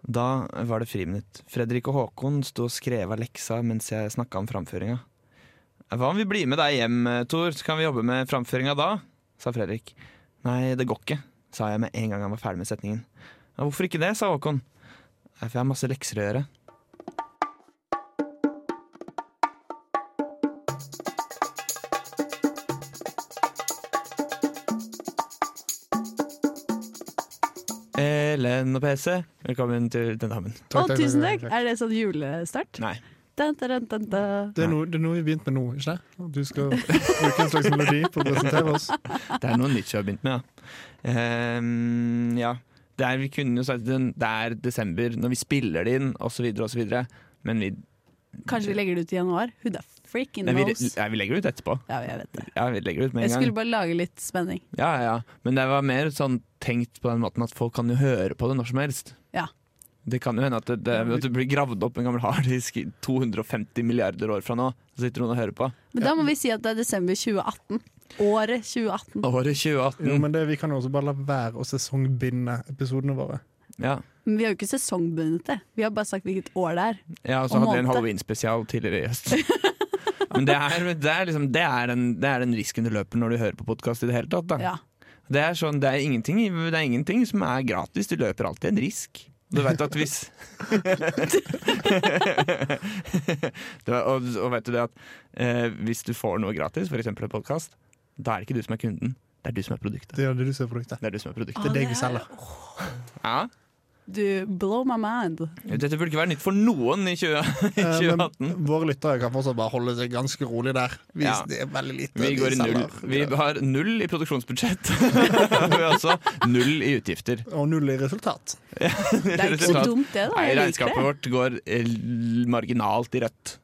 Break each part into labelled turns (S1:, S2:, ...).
S1: Da var det friminutt. Fredrik og Håkon sto og skrev av leksa mens jeg snakka om framføringa. Hva om vi blir med deg hjem, Tor, så kan vi jobbe med framføringa da? sa Fredrik. Nei, det går ikke, sa jeg med en gang han var ferdig med setningen. Ja, hvorfor ikke det, sa Håkon. «Nei, For jeg har masse lekser å gjøre. Ellen og PC, velkommen til den damen.
S2: Å, tusen takk! Er det sånn julestart?
S1: Nei.
S2: Dun, dun, dun, dun.
S3: Det er, noe, det er noe vi har begynt med nå, ikke det? Du skal bruke en slags melodi på å presentere oss.
S1: Det er noe nytt vi har begynt med, ja. Ehm, ja. Det er, vi kunne jo sagt den- det er desember, når vi spiller det inn, osv., osv. Men, vi,
S2: Kanskje vi legger det ut i januar? Who the freaking
S1: men vi,
S2: knows?
S1: ja, vi legger det ut etterpå.
S2: Ja, jeg vet det.
S1: Ja, vi legger det ut med
S2: Jeg
S1: en gang.
S2: skulle bare lage litt spenning.
S1: Ja, ja, ja. Men det var mer sånn tenkt på den måten at folk kan jo høre på det når som helst.
S2: Ja.
S1: Det kan jo hende at det, det, at det blir gravd opp en gammel harddisk i 250 milliarder år fra nå. Så sitter hun og hører på.
S2: Men da må vi si at det er desember 2018. Året 2018.
S1: Året
S3: Jo,
S1: 2018.
S3: men det, vi kan jo også bare la være å sesongbinde episodene våre.
S1: Ja.
S2: Men vi har jo ikke sesongbundet det. Vi har bare sagt hvilket år det er.
S1: Ja, og så
S2: Og
S1: hadde vi en
S2: måned.
S1: halloween-spesial tidligere i høst. Men det er, det, er liksom, det, er den, det er den risken du løper når du hører på podkast i det hele tatt. Da.
S2: Ja.
S1: Det, er sånn, det, er ingenting, det er ingenting som er gratis, du løper alltid en risk. Du vet at hvis det var, og, og vet du det at eh, hvis du får noe gratis, f.eks. en podkast, da er det ikke du som er kunden, det er du som er produktet.
S3: Det er det du ser produktet.
S1: Det er du som er produktet.
S3: Det er deg vi selger.
S2: Ah.
S1: Ja.
S2: Du blow my mind.
S1: Dette burde ikke være nytt for noen i 20,
S3: Eh, Men
S1: 2018.
S3: våre lyttere kan fortsatt bare holde seg ganske rolig der. Vi,
S1: Ja.
S3: Det er veldig lite
S1: Vi går i null. Vi
S3: selger.
S1: har null i produksjonsbudsjett. Vi har også null i utgifter.
S3: Og null i resultat.
S2: Det er ikke så
S1: Resultat-
S2: dumt, det. da
S1: Nei,
S2: Jeg liker
S1: regnskapet
S2: det.
S1: vårt går eh, l- marginalt i rødt.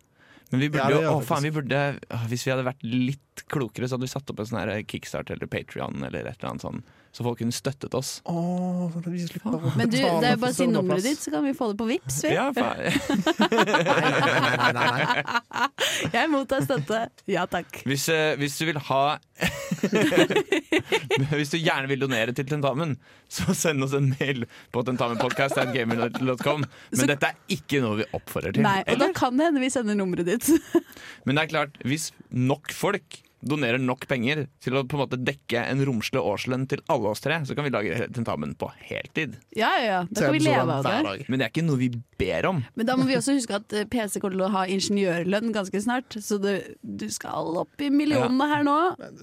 S1: Men vi
S3: Ja,
S1: burde
S3: det
S1: jo
S3: gjør
S1: Å,
S3: det
S1: faen, vi burde å, Hvis vi hadde vært litt klokere, så hadde vi satt opp en sånn her kickstart eller Patrion eller et eller annet sånn, så folk kunne støttet oss.
S3: Åh, så vi slipper å
S2: Men du,
S3: betale
S2: det er
S3: for
S2: bare å si
S3: serverplass.
S2: nummeret ditt, så kan vi få det på Vipps vi.
S1: Ja, faen.
S3: Nei, nei, nei, nei, nei, nei.
S2: Jeg mottar støtte. Ja takk.
S1: Hvis, eh, hvis du vil ha Hvis du gjerne vil donere til tentamen, så send oss en mail på tentamenpodkast.gamer.com. Men
S2: Så-
S1: dette er ikke noe vi oppfordrer til.
S2: Nei, og da kan det hende vi sender nummeret ditt.
S1: Men det er klart, hvis nok folk donerer nok penger til å på en måte dekke en romslig årslønn til alle oss tre, så kan vi lage tentamen på heltid.
S2: Ja, ja, ja. Da
S3: Så
S2: kan vi
S3: episoden
S2: leve av
S3: hver
S2: det.
S3: dag.
S1: Men det er ikke noe vi ber om.
S2: Men da må vi også huske at eh, PC kommer til å ha ingeniørlønn ganske snart, så det, du skal opp i millionene her nå.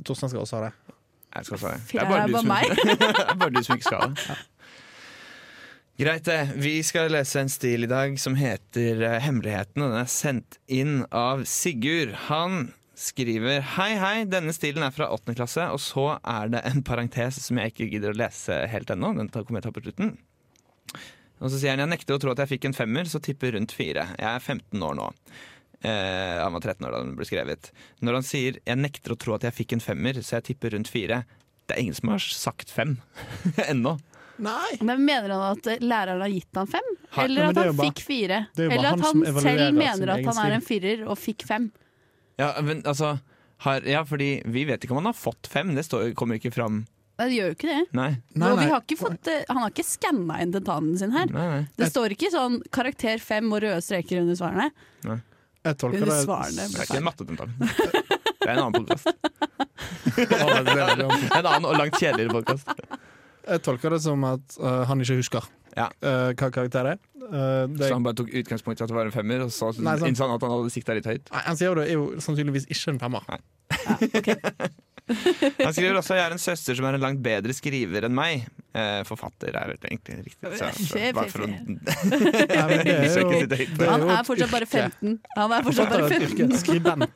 S3: Torstein skal også ha det.
S1: Jeg skal si.
S2: Fy, det er bare
S1: som,
S2: meg.
S1: det er bare du som ikke skal det. Greit det. Vi skal lese en stil i dag som heter eh, Hemmeligheten, og den er sendt inn av Sigurd. Han skriver Hei, hei, denne stilen er fra 8. klasse, og så er det en parentes som jeg ikke gidder å lese helt ennå. Den tar- kommer jeg til å ta på slutten. Og så sier han jeg nekter å tro at jeg fikk en femmer, så tipper rundt fire. Jeg er 15 år nå. Eh, han var 13 år da den ble skrevet. Når han sier 'jeg nekter å tro at jeg fikk en femmer, så jeg tipper rundt fire', det er ingen som har sagt fem ennå.
S3: Nei!
S2: Men mener han at eh, læreren har gitt han fem?
S1: Ha-
S2: Eller
S3: Nei, men
S2: at
S3: det er
S2: han
S3: jo bare-
S2: fikk fire?
S3: det er jo bare
S2: Eller
S3: han
S2: at
S3: som
S2: han
S3: evaluerer
S2: selv
S3: sin
S2: mener at
S3: egen
S2: han
S3: stil.
S2: er en firer og fikk fem?
S1: Ja, men altså har, Ja, fordi vi vet ikke om han har fått fem. Det står, kommer jo ikke fram.
S2: Nei, det gjør jo ikke det.
S1: Nei.
S2: og vi har ikke fått, eh, han har ikke skanna inn tentanen sin her.
S1: nei, nei.
S2: Det står ikke sånn karakter fem og røde streker under svarene.
S3: Jeg tolker
S2: Under
S3: det
S2: svarene
S1: Det
S2: ble
S1: er ikke en
S2: feil.
S1: mattetentamen. Det er en annen podkast.
S3: Å, det er veldig-
S1: En annen og langt kjedeligere podkast.
S3: Jeg tolker det som at eh, han ikke husker
S1: Ja.
S3: eh, hva karakter det er. Eh,
S1: Så
S3: det er
S1: han bare tok utgangspunkt i at det var en femmer, og så
S3: Nei, sant.
S1: innså han at han hadde sikta litt høyt.
S3: Nei, han sier jo det er jo sannsynligvis ikke en femmer.
S1: Han skriver også jeg har en søster som er en langt bedre skriver enn meg. Eh, forfatter er vel egentlig riktig. Så,
S2: Fy, fy,
S1: bare for å
S3: Nei, men det
S1: Hvis
S3: er
S1: jeg
S3: jo,
S1: ikke sitter helt på
S3: det
S2: Han
S3: jo
S2: er fortsatt bare 15. Han er fortsatt bare 15.
S3: Skribent.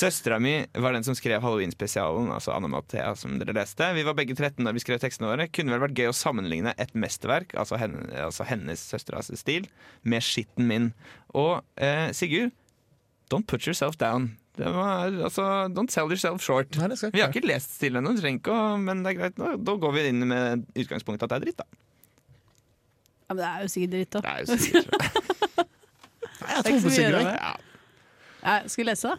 S1: Søstera mi var den som skrev Halloween-spesialen, altså Anna Mathea, som dere leste. Vi var begge 13 da vi skrev tekstene våre. Kunne vel vært gøy å sammenligne et mesterverk, altså, henne, altså hennes søsteras stil, med skitten min. Og eh, Sigurd, don't put yourself down. Det var, altså, don't sell yourself short.
S3: Nei, det skal
S1: Vi har
S3: jeg ikke.
S1: ikke lest stilen ennå, trenger ikke å- men det er greit. nå. Da går vi inn med utgangspunktet at det er dritt, da.
S2: Ja, men det er jo sikkert dritt, da.
S1: Det er jo sikkert
S3: Nei, jeg
S2: Det er
S3: tror
S2: ikke
S3: på
S2: så mye å
S3: Sigurd.
S2: gjøre.
S3: jeg.
S1: ja.
S2: Jeg skulle lese, da.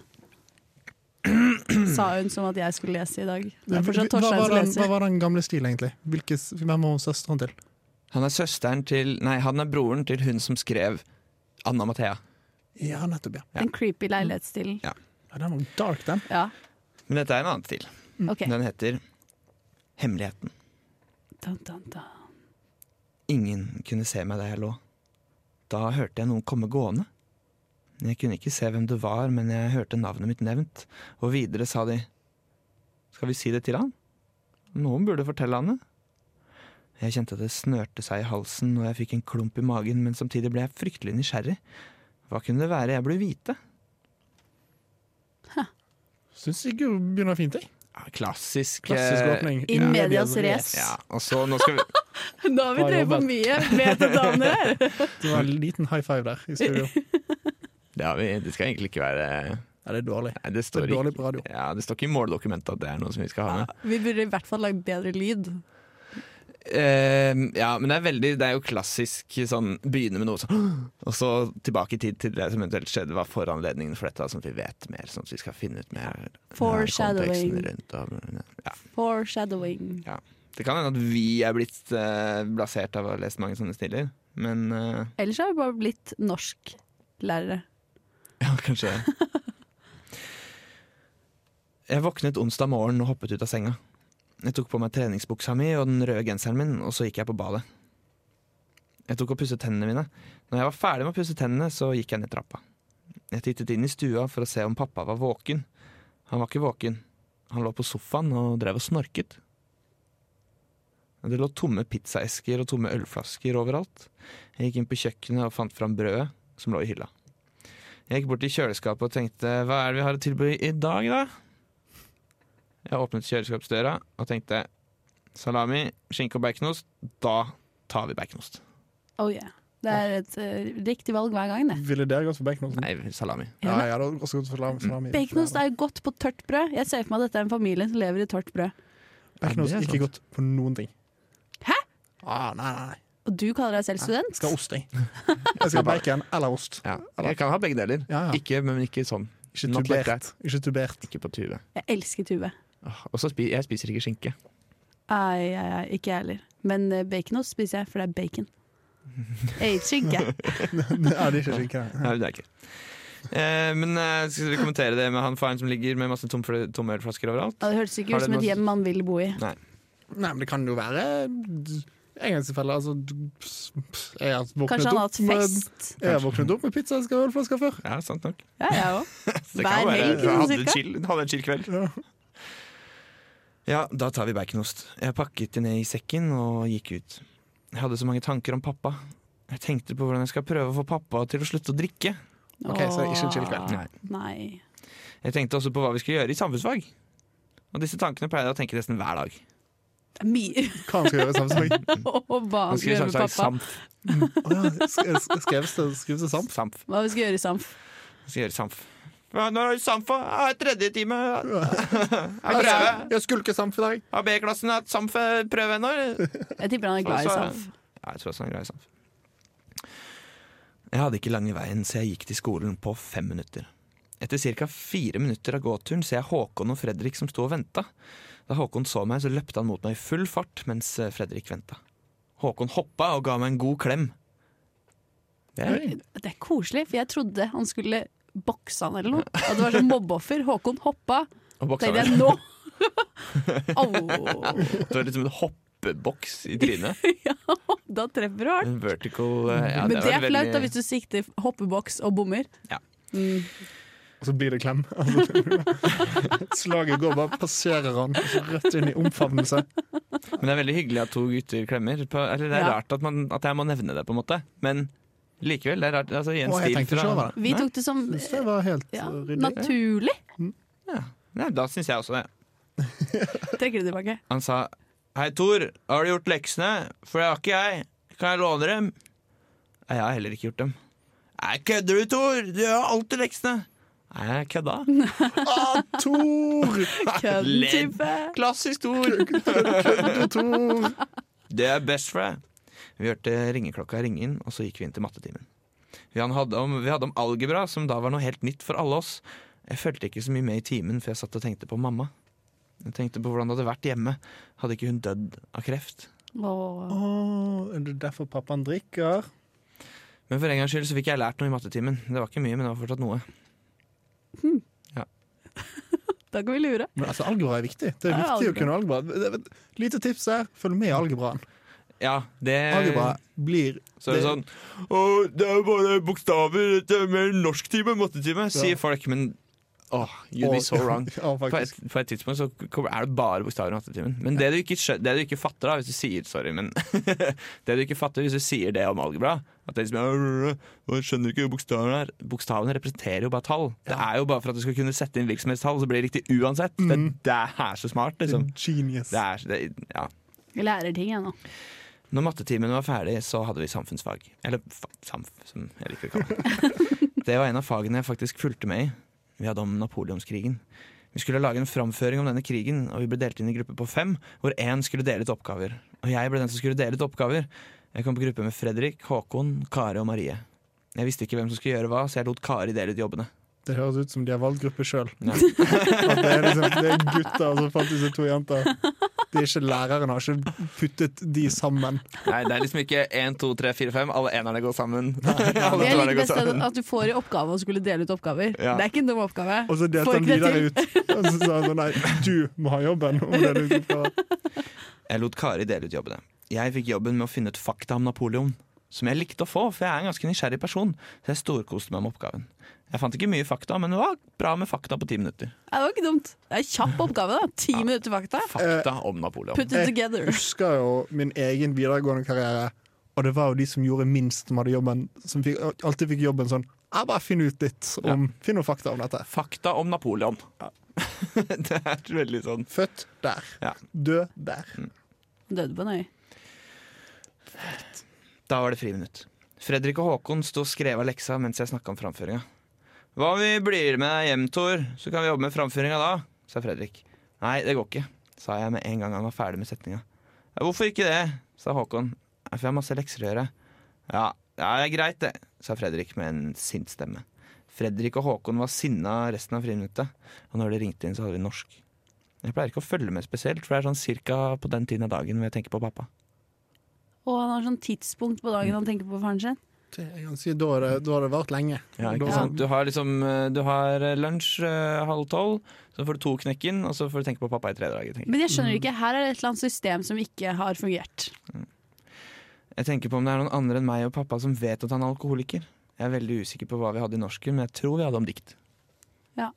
S2: Sa hun som at jeg skulle lese i dag. Det er
S3: Hva
S2: fortsatt
S3: var
S2: Torstein som
S3: den- Hva
S2: leser.
S3: var den gamle stilen, egentlig? Hvilke, s- hvem var hun søsteren til?
S1: Han er søsteren til Nei, han er broren til hun som skrev Anna Mathea.
S3: Ja, nettopp, ja.
S2: Den creepy leilighetsstilen.
S3: ja. Den var dark, den.
S2: Ja,
S1: Men dette er en annen stil.
S2: ok.
S1: Den heter Hemmeligheten.
S2: Dun, dun, dun.
S1: Ingen kunne se meg der jeg lå. Da hørte jeg noen komme gående. Jeg kunne ikke se hvem det var, men jeg hørte navnet mitt nevnt. Og videre sa de Skal vi si det til han? Noen burde fortelle han det. Jeg kjente at det snørte seg i halsen, og jeg fikk en klump i magen, men samtidig ble jeg fryktelig nysgjerrig. Hva kunne det være jeg burde vite?
S3: Syns Sigurd begynner fint, jeg.
S1: Ja, klassisk,
S3: Klassisk
S1: eh,
S3: åpning.
S2: In medias res.
S1: Ja, og så nå skal vi
S2: Da har vi
S3: Bra
S2: drevet på
S3: jobbet.
S2: mye med det damene her.
S3: Det var en liten high five der i studio.
S1: Det, har vi, det skal egentlig ikke være Nei,
S3: Ja, det er dårlig.
S1: det
S3: Det
S1: står,
S3: er dårlig
S1: ikke,
S3: på radio.
S1: ja, det står ikke i måldokumentet at det er noe som vi skal ha med.
S2: Vi burde i hvert fall lagd bedre lyd.
S1: Eh, ja, men det er veldig Det er jo klassisk sånn begynne med noe sånn Og så tilbake i tid til det som eventuelt skjedde, var foranledningen for dette, sånn at vi vet mer, sånn at vi skal finne ut mer
S2: Foreshadowing.
S1: konteksten rundt og- ja.
S2: Foreshadowing.
S1: Det kan hende at vi er blitt eh, blasert av å ha lest mange sånne stiller, men eh,
S2: Ellers har vi bare blitt norsklærere.
S1: Ja, kanskje Jeg våknet onsdag morgen og hoppet ut av senga. Jeg tok på meg treningsbuksa mi og den røde genseren min, og så gikk jeg på badet. Jeg tok og pusset tennene mine. Når jeg var ferdig med å pusse tennene, så gikk jeg ned trappa. Jeg tittet inn i stua for å se om pappa var våken. Han var ikke våken. Han lå på sofaen og drev og snorket. Det lå tomme pizzaesker og tomme ølflasker overalt. Jeg gikk inn på kjøkkenet og fant fram brødet som lå i hylla. Jeg gikk bort til kjøleskapet og tenkte hva er det vi har å tilby i dag, da? Jeg åpnet kjøleskapsdøra og tenkte salami, skinke og baconost. Da tar vi baconost.
S2: Oh yeah. Det er et eh, riktig valg hver gang, det.
S3: Ville dere gått for baconost?
S1: Nei, salami.
S3: Ja, jeg hadde også gått for lam- salami.
S2: Baconost er jo godt på tørt brød. Jeg ser for meg at dette er en familie som lever i tørt brød.
S3: Baconost
S1: Ja, det er
S3: ikke godt på noen ting.
S2: Hæ?
S3: Ah, nei, nei, nei.
S2: Og du kaller deg selv
S3: Jeg
S2: student?
S3: skal ha ost, jeg. Jeg skal ha bacon eller ost.
S1: Ja. Jeg kan ha begge deler.
S3: Ja, ja.
S1: Ikke, men ikke sånn.
S3: Ikke
S1: Not like
S3: tubert. Ikke tubert.
S1: Ikke på tuve.
S2: Jeg elsker Tuve.
S1: Åh, Og så spi jeg spiser ikke skinke.
S2: Ai, ai, ai, ikke jeg heller. Men eh, baconost spiser jeg, for det er bacon. Jeg gir skinke.
S3: Ja, det er ikke skinke.
S1: Nei, det er ikke. Eh, men eh, skal vi kommentere det med han faren som ligger med masse tom tomme ølflasker overalt?
S2: Ja, Det hørtes ikke
S1: Har
S2: ut
S1: det
S2: som et
S1: noe-
S2: hjem man vil bo i.
S3: Nei, men det kan jo være engangstilfeller. Altså, du- pss, pss, jeg har våknet
S2: Kanskje han har hatt
S3: opp med-
S2: fest.
S3: Jeg har våknet opp med pizzaesker og ølflasker før.
S1: Ja, sant nok.
S2: Ja, jeg òg.
S1: Det kan
S2: Hver
S1: være-
S2: helg,
S1: jeg
S2: sånn
S1: hadde,
S2: cirka.
S1: chill, hadde en chill kveld.
S3: Ja.
S1: Ja, da tar vi baconost. Jeg pakket det ned i sekken og gikk ut. Jeg hadde så mange tanker om pappa. Jeg tenkte på hvordan jeg skal prøve å få pappa til å slutte å drikke.
S3: Ok, så det er ikke en chill
S2: Ah.
S3: kveld.
S1: Nei.
S2: Nei.
S1: Jeg tenkte også på hva vi skulle gjøre i samfunnsfag. Og disse tankene pleide jeg å tenke nesten hver dag.
S2: Det er mye
S3: Hva han skal gjøre i samfunnsfag?
S2: å hva
S1: Nå
S2: han skal
S1: skulle
S2: gjøre med
S1: samfunnsfag
S2: pappa.
S1: sånn samf.
S3: Å ja, sk- Skreves det skreves det sant?
S1: samf.
S2: Hva vi skal gjøre i Samf.
S1: Jeg skal gjøre samf. Hva, Når er det samf? Ah, tredje time. Har prøve.
S3: Jeg jeg skulker samfunn i dag.
S1: Har B-klassen hatt samf-prøve ennå? eller?
S2: Jeg tipper han er glad i Samf.
S1: Ja, jeg tror også han er glad i samf. Jeg hadde ikke lange veien, så jeg gikk til skolen på fem minutter. Etter ca. fire minutter av gåturen ser jeg Håkon og Fredrik som sto og venta. Da Håkon så meg, så løpte han mot meg i full fart mens eh, Fredrik venta. Håkon hoppa og ga meg en god klem. Det er,
S3: Oi.
S2: Det er koselig, for jeg trodde han skulle bokse han eller noe. At det var sånn mobbeoffer. Håkon hoppa.
S1: og boksa
S2: Tenkte
S1: meg.
S2: jeg nå! Au!
S1: Det var litt som en hoppeboks i trynet.
S2: Da treffer du hardt.
S1: En vertical eh, ja,
S2: Men det er
S1: var
S2: flaut da
S1: veldig-
S2: hvis du sikter hoppeboks og bommer.
S1: Ja.
S2: Mm.
S3: Og så blir det klem. Altså, Slaget går bare passerer han, og så rett inn i omfavnelse.
S1: Men det er veldig hyggelig at to gutter klemmer. På, eller det er
S2: Ja.
S1: rart at, man, at jeg må nevne det, på en måte. Men likevel, det er rart. Altså, i en
S3: Å, jeg
S1: stil
S3: tenkte
S1: fra-
S3: ikke over det.
S2: Vi
S1: Nei?
S2: tok det som
S3: Jeg synes det var helt
S2: ja,
S3: eh, ryddig.
S2: naturlig.
S1: Ja. Nei, da syns jeg også det.
S2: Trekker det tilbake.
S1: Han sa Hei, Tor, har du gjort leksene? For det har ikke jeg. Kan jeg låne dem? Nei, jeg har heller ikke gjort dem. Nei, kødder du, Tor? Du gjør alltid leksene. Nei, jeg kødda.
S3: Ah, Tor!
S2: Kødden
S1: Ledd.
S2: type.
S1: Klassisk Tor.
S3: Du, Tor!
S1: Det er best for deg. Vi hørte ringeklokka ringe inn, og så gikk vi inn til mattetimen. Vi han hadde om, vi hadde om algebra, som da var noe helt nytt for alle oss. Jeg fulgte ikke så mye med i timen, for jeg satt og tenkte på mamma. Jeg tenkte på hvordan det hadde vært hjemme. Hadde ikke hun dødd av kreft?
S2: Åh.
S3: Åh, er det derfor pappaen drikker?
S1: Men for en gangs skyld så fikk jeg lært noe i mattetimen. Det var ikke mye, men det var fortsatt noe.
S2: Da kan vi lure.
S3: Men altså, algebra er viktig. Det er
S2: Ja,
S3: viktig å
S2: algebra.
S3: kunne algebra. Det- det- Lite tips her, følg med i algebraen.
S1: Ja, det
S3: Algebra blir
S1: Eh, Så er det sånn Å, det er jo bare bokstaver. Det er mer norsktime enn mattetime, sier folk. Men åh, you'd be so wrong.
S3: Ja,
S1: På
S3: faktisk.
S1: et, på et tidspunkt så kommer- er det bare bokstaver i mattetimen. Men det du, ikke, skjø- det du ikke fatter da, hvis du sier sorry, men det du ikke fatter hvis du sier det om algebra at det er liksom, «Åh, jeg skjønner ikke bokstavene her. Bokstavene representerer jo bare tall. Det er jo bare for at du skal kunne sette inn virksomhetstall, så blir det riktig uansett. Det, det er så smart, liksom.
S3: Genius.
S1: Det er, det, ja.
S2: Jeg lærer ting, jeg nå.
S1: Når mattetimen var ferdig, så hadde vi samfunnsfag. Eller fa samf, som jeg liker å kalle det. Det var en av fagene jeg faktisk fulgte med i. Vi hadde om napoleonskrigen. Vi skulle lage en framføring om denne krigen, og vi ble delt inn i grupper på fem, hvor én skulle dele ut oppgaver. Og jeg ble den som skulle dele ut oppgaver. Jeg kom på gruppe med Fredrik, Håkon, Kari og Marie. Jeg visste ikke hvem som skulle gjøre hva, så jeg lot Kari dele ut jobbene.
S3: Det høres ut som de har valgt gruppe sjøl.
S1: Ja.
S3: At det er, liksom, det er gutter, og så fant de seg to jenter. Det er ikke Læreren har ikke puttet de sammen.
S1: Nei, det er liksom ikke én, to, tre, fire, fem. Alle enerne går sammen. Alle
S2: Jeg
S1: toerne
S2: liker
S1: går
S2: best
S1: sammen.
S2: at at du får i oppgave å skulle dele ut oppgaver.
S1: Ja.
S2: Det er ikke en dum oppgave.
S3: Og så delte
S2: Får
S3: han
S2: ikke det
S3: videre
S2: til.
S3: ut. Og så sa han sånn nei, du må ha jobben. Om det er liksom- du skal få.
S1: Jeg lot Kari dele ut jobbene. Jeg fikk jobben med å finne ut fakta om Napoleon. Som jeg likte å få, for jeg er en ganske nysgjerrig person. Så jeg storkoste meg med oppgaven. Jeg fant ikke mye fakta, men det var bra med fakta på ti minutter.
S2: Ja, Det var ikke dumt. Det er en kjapp oppgave, da. Ti minutter fakta.
S1: Fakta om Napoleon.
S2: Put it together.
S3: Jeg husker jo min egen videregående karriere, og det var jo de som gjorde minst, som hadde jobben, som fikk, alltid fikk jobben sånn Jeg bare finner ut litt om Finn noen fakta om dette.
S1: Fakta om Napoleon. det er veldig sånn
S3: Født der.
S1: Ja.
S3: Død der.
S2: Døde på en øy.
S1: Da var det friminutt. Fredrik og Håkon sto og skrev av leksa mens jeg snakka om framføringa. Hva om vi blir med deg hjem, Tor, så kan vi jobbe med framføringa da? sa Fredrik. Nei, det går ikke, sa jeg med en gang han var ferdig med setninga. Ja, hvorfor ikke det? sa Håkon. «Nei, For jeg har masse lekser å gjøre. Ja, ja, det er greit, det, sa Fredrik med en sint stemme. Fredrik og Håkon var sinna resten av friminuttet, og når de ringte inn, så hadde vi norsk. Jeg pleier ikke å følge med spesielt, for det er sånn cirka på den tiden av dagen hvor jeg tenker på pappa.
S2: Og han har sånn tidspunkt på dagen han tenker på faren sin.
S3: Det er ganske, da, har det, da har det vart lenge.
S1: Ja, ikke
S3: Da-
S1: sant? Du har, liksom, eh, du har eh, lunsj eh, halv tolv, så får du to knekken, og så får du tenke på pappa i tre dager. tenker Jeg.
S2: Men jeg skjønner ikke, her er det et eller annet system som ikke har fungert.
S1: jeg tenker på om det er noen andre enn meg og pappa som vet at han er alkoholiker. Jeg er veldig usikker på hva vi hadde i norsken, men jeg tror vi hadde om dikt.
S2: Ja.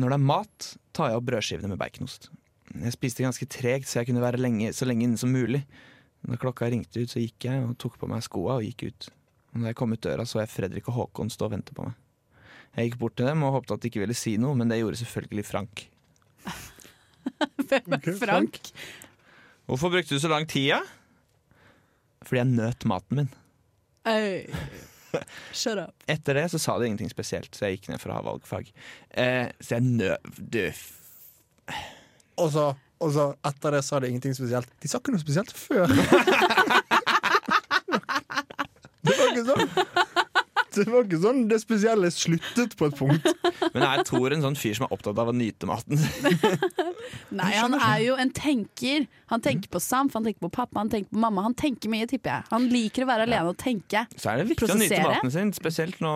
S1: Når det er mat, tar jeg opp brødskivene med baconost. Jeg spiste ganske tregt, så jeg kunne være lenge, så lenge inne som mulig. Når klokka ringte ut, så gikk jeg og tok på meg skoa og gikk ut. Og da jeg kom ut døra, så jeg Fredrik og Håkon stå og vente på meg. Jeg gikk bort til dem og håpte at de ikke ville si noe, men det gjorde selvfølgelig Frank.
S2: Hvem
S3: Ok,
S2: er Frank?
S1: Hvorfor brukte du så lang tid, da? Fordi jeg nøt maten min.
S2: Øy. Shut up.
S1: Etter det så sa de ingenting spesielt, så jeg gikk ned for å ha valgfag. Eh, så jeg nø... Du, f-
S3: Og så, og så etter det sa de ingenting spesielt. De sa ikke noe spesielt før. det var ikke sånn Det var ikke sånn det spesielle sluttet på et punkt.
S1: Men er Tor en sånn fyr som er opptatt av å nyte maten?
S2: Nei, han er jo en tenker. Han tenker på Samf, han tenker på pappa, han tenker på mamma. Han tenker mye, tipper jeg. Han liker å være alene og tenke.
S1: Så er det viktig å
S2: Prosessere?
S1: nyte maten sin, spesielt nå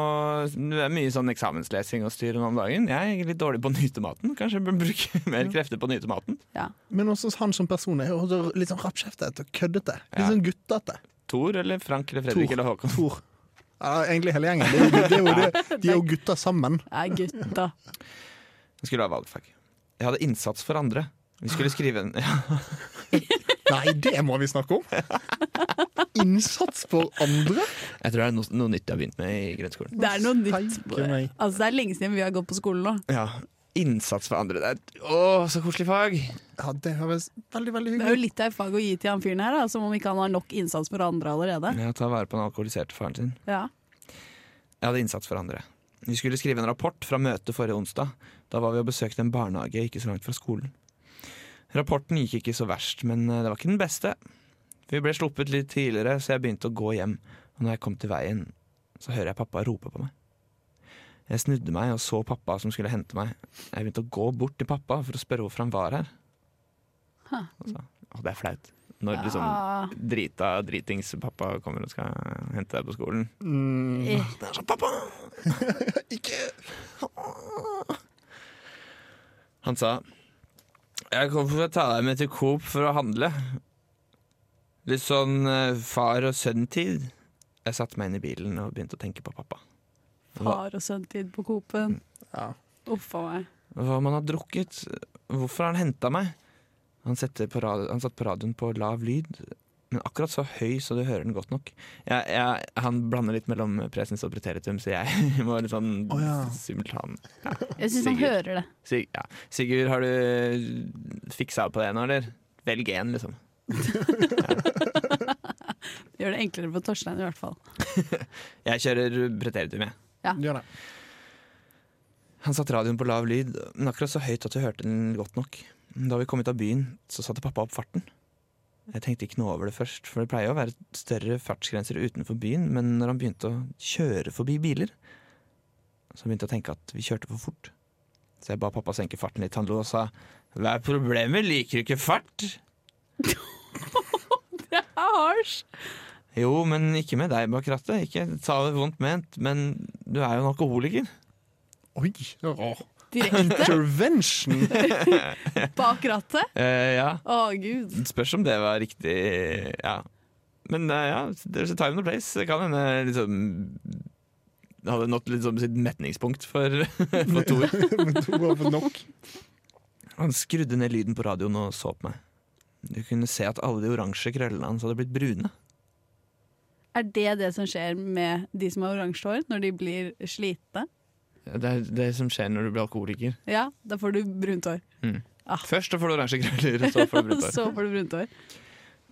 S1: det er mye sånn eksamenslesing og styr om dagen. Jeg er litt dårlig på å nyte maten. Kanskje jeg bør bruke mer krefter på å nyte maten.
S2: Ja.
S3: Men også han som person er jo også litt sånn rappkjeftet og køddete. Litt
S1: Ja.
S3: sånn guttete.
S1: Tor eller Frank eller Fredrik
S3: Tor.
S1: eller Håkon.
S3: Tor. Ja, egentlig hele gjengen. Det er jo, det er jo det. De er jo gutter sammen.
S2: Ja, gutta.
S1: Jeg skulle ha valgfag. Jeg hadde innsats for andre. Vi skulle skrive en ja,
S3: Nei, det må vi snakke om! Innsats for andre?
S1: Jeg tror det er noe, noe nytt jeg har begynt med i grunnskolen.
S2: Det er noe nytt.
S3: Steike meg.
S2: Altså, det er lenge siden vi har gått på skolen nå.
S1: Ja, Innsats for andre. Det er, å, så koselig fag!
S3: Ja, det høres veldig, veldig
S2: Det er jo
S3: hyggelig ut.
S2: litt av et fag å gi til han fyren her, da, som om ikke han har nok innsats for andre allerede.
S1: Ja, Ta vare på den alkoholiserte faren sin.
S2: Ja.
S1: Jeg hadde innsats for andre. Vi skulle skrive en rapport fra møtet forrige onsdag. Da var vi og besøkte en barnehage ikke så langt fra skolen. Rapporten gikk ikke så verst, men eh, det var ikke den beste. Vi ble sluppet litt tidligere, så jeg begynte å gå hjem. Og når jeg kom til veien, så hører jeg pappa rope på meg. Jeg snudde meg og så pappa som skulle hente meg. Jeg begynte å gå bort til pappa for å spørre hvorfor han var her.
S2: Huh.
S1: Han sa, Og det er flaut. Når
S2: Ah,
S1: liksom drita dritings pappa kommer og skal hente deg på skolen.
S2: Eh,
S1: Det er sånn, pappa!
S3: Mm, Ikke
S1: Han sa Jeg kommer for å ta deg med til Coop for å handle. Litt sånn eh, far og sønn-tid. Jeg satte meg inn i bilen og begynte å tenke på pappa. Hva,
S2: Far og sønn-tid på Coop-en.
S3: Ja.
S2: Uff a meg.
S1: hva man har drukket. Hvorfor har han henta meg? Han, setter på radio, han satt på radioen på lav lyd, men akkurat så høy så du hører den godt nok. Jeg, jeg, han blander litt mellom presens og preteritum, så jeg må litt sånn
S3: Å, ja.
S1: simultan.
S2: Jeg syns han
S1: Sigurd.
S2: hører det.
S1: Sig, ja. Sigurd, har du fiksa på det nå, eller? Velg én, liksom.
S2: Gjør det enklere for Torstein i hvert fall.
S1: Jeg kjører preteritum, jeg.
S3: gjør det.
S1: Han satte radioen på lav lyd, men akkurat så høyt at vi hørte den godt nok. Da vi kom ut av byen, så satte pappa opp farten. Jeg tenkte ikke noe over det først, for det pleier å være større fartsgrenser utenfor byen, men når han begynte å kjøre forbi biler, så begynte jeg å tenke at vi kjørte for fort. Så jeg ba pappa senke farten litt. Han lo og sa 'Hva er problemet, liker du ikke fart?'
S2: Det er harsh!
S1: Jo, men ikke med deg bak rattet. Ikke ta det vondt ment, men du er jo en alkoholiker.
S3: Oi! åh.
S2: Direkte
S3: Intervention!
S2: bak rattet.
S1: Eh, ja.
S2: Å, gud.
S1: Det Spørs om det var riktig Ja. Men eh, ja, there's a time and a place. Det kan hende liksom det hadde nådd liksom sitt metningspunkt for, for Thor.
S3: Men to har fått nok.
S1: Han skrudde ned lyden på radioen og så på meg. Du kunne se at alle de oransje krøllene hans hadde blitt brune.
S2: Er det det som skjer med de som har oransje hår, når de blir slitne?
S1: Det er det som skjer når du blir alkoholiker.
S2: Ja, da får du brunt hår.
S1: Først så får du oransje krøller, og så får du brunt hår.
S2: Så får du brunt hår.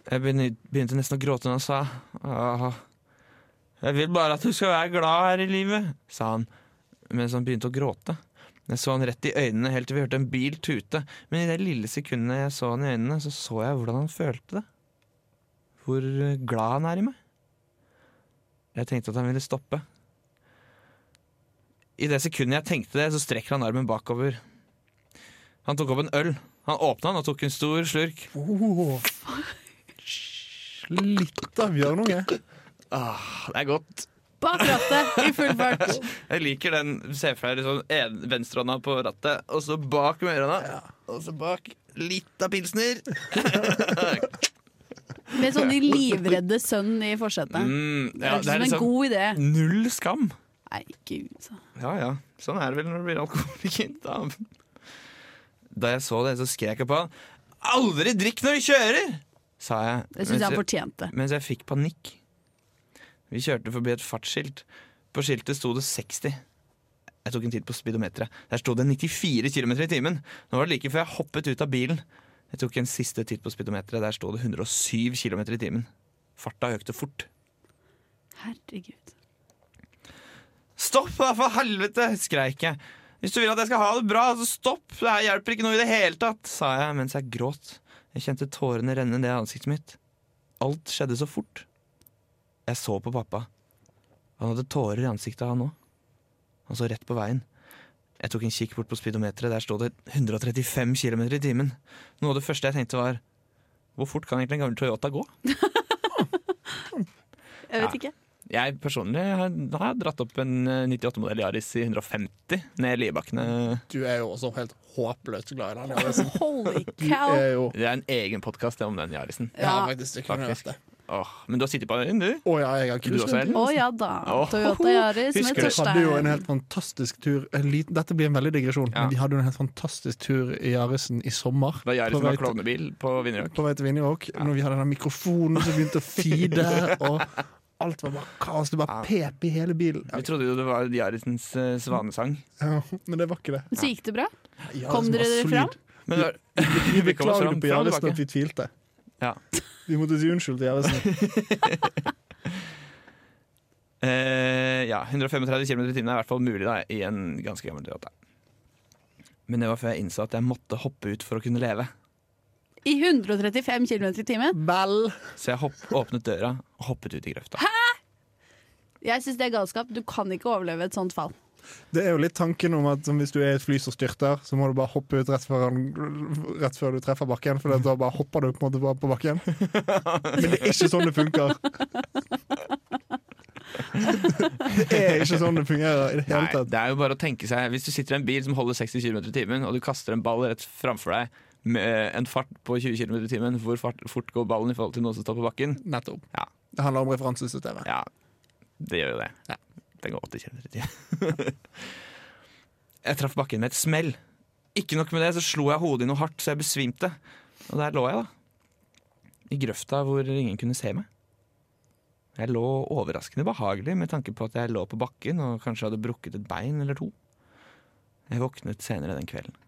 S1: Jeg begyn- begynte nesten å gråte når han sa «Åh, Jeg vil bare at du skal være glad her i livet, sa han mens han begynte å gråte. Jeg så han rett i øynene helt til vi hørte en bil tute, men i det lille sekundet jeg så han i øynene, så så jeg hvordan han følte det. Hvor glad han er i meg. Jeg tenkte at han ville stoppe. I det sekundet jeg tenkte det, så strekker han armen bakover. Han tok opp en øl. Han åpna den og tok en stor slurk.
S3: Oh. Litt av bjørnunge.
S1: Ah, det er godt.
S2: Bak rattet i full fart.
S1: Jeg liker den. Se for deg liksom en- venstrehånda på rattet, og så bak med høyrehånda. Og så bak litt av pilsner.
S2: Med sånn de livredde sønnen i forsetet.
S1: Mm,
S2: Det
S1: ja,
S2: høres ut
S1: det
S2: som
S1: er
S2: en
S1: liksom
S2: god idé.
S1: null skam.
S2: Nei, gud. altså.
S1: Ja ja, sånn er det vel når du blir alkoholiker. Da. da jeg så det, så skrek jeg på han. Aldri drikk når du kjører! sa jeg.
S2: Det syns jeg
S1: mens
S2: han fortjente.
S1: mens jeg fikk panikk. Vi kjørte forbi et fartsskilt. På skiltet sto det 60. Jeg tok en titt på speedometeret. Der sto det 94 km i timen. Nå var det like før jeg hoppet ut av bilen. Jeg tok en siste titt på speedometeret. Der sto det 107 km i timen. Farta økte fort.
S2: Herregud.
S1: Stopp, da, for helvete! skreik jeg. Hvis du vil at jeg skal ha det bra, så stopp! Det her hjelper ikke noe i det hele tatt, sa jeg mens jeg gråt. Jeg kjente tårene renne ned ansiktet mitt. Alt skjedde så fort. Jeg så på pappa. Han hadde tårer i ansiktet, han òg. Han så rett på veien. Jeg tok en kikk bort på speedometeret. Der sto det 135 km i timen. Noe av det første jeg tenkte, var hvor fort kan egentlig en gammel Toyota gå?
S2: Jeg vet ikke.
S1: Jeg personlig har, har dratt opp en 98-modell Yaris i 150 ned Liebakkene.
S3: Du er jo også helt håpløst glad i den. Jarlsen.
S2: Altså, Holy
S3: Du er
S2: cow.
S3: jo
S1: Det er en egen podkast om den Yarisen.
S3: Ja,
S2: Ja.
S3: faktisk. Det kunne jeg
S1: Faktisk.
S3: vært det.
S1: Åh, men du har sittet på den, du?
S3: Å ja, jeg har
S1: Du også, Ellen?
S3: cruiset.
S2: Å ja da.
S1: Åh.
S2: Toyota Yaris med
S1: Husker du-
S3: De hadde jo en
S2: Torstein.
S3: helt fantastisk tur en liten, Dette blir en veldig digresjon,
S1: Ja.
S3: men de hadde jo en helt fantastisk tur i Jaresen i sommer.
S1: Da
S3: På
S1: Yarisen
S3: vei
S1: var
S3: til-
S1: klovnebil på Vinjerock?
S3: på vei til Vinjerock, når vi hadde den mikrofonen som begynte å feede, og alt var bare kaos. Det bare pep i hele bilen.
S1: Vi trodde jo det var Yarisens eh, svanesang.
S3: Ja, men det var ikke det.
S2: Så gikk det bra?
S3: Jaresen
S2: Kom
S3: var
S2: dere dere
S3: solid.
S2: fram?
S1: Men det var-
S3: Vi
S1: vi kom oss
S3: beklager
S1: fram,
S3: på
S1: fram og
S3: Jaresen
S1: tilbake.
S3: at vi tvilte.
S1: Ja.
S3: Vi måtte si unnskyld til Jaresen.
S1: Eh, ja, 135 km i timen er i hvert fall mulig da, i en ganske gammel Toyota. Men det var før jeg innså at jeg måtte hoppe ut for å kunne leve.
S2: I 135 km i timen?
S3: Vel!
S1: Så jeg hopp, åpnet døra og hoppet ut i grøfta.
S2: Jeg syns det er galskap. Du kan ikke overleve et sånt fall.
S3: Det er jo litt tanken om at som hvis du er i et fly som styrter, så må du bare hoppe ut rett før, han- rett før du treffer bakken, for da bare hopper du på en måte bare på bakken. Men det er ikke sånn det funker. Det er ikke sånn det fungerer i det hele
S1: Nei,
S3: tatt.
S1: det er jo bare å tenke seg Hvis du sitter i en bil som holder 60 km i timen, og du kaster en ball rett framfor deg med eh, en fart på 20 km i timen, hvor fart, fort går ballen i forhold til noen som står på bakken?
S3: Nettopp.
S1: Ja.
S3: Det handler om referansesystemet.
S1: Ja, det gjør jo det.
S3: Ja.
S1: Det går 80 km i timen. jeg traff bakken med et smell. Ikke nok med det, så slo jeg hodet i noe hardt så jeg besvimte. Og der lå jeg, da. I grøfta hvor ingen kunne se meg. Jeg lå overraskende behagelig med tanke på at jeg lå på bakken og kanskje hadde brukket et bein eller to. Jeg våknet senere den kvelden.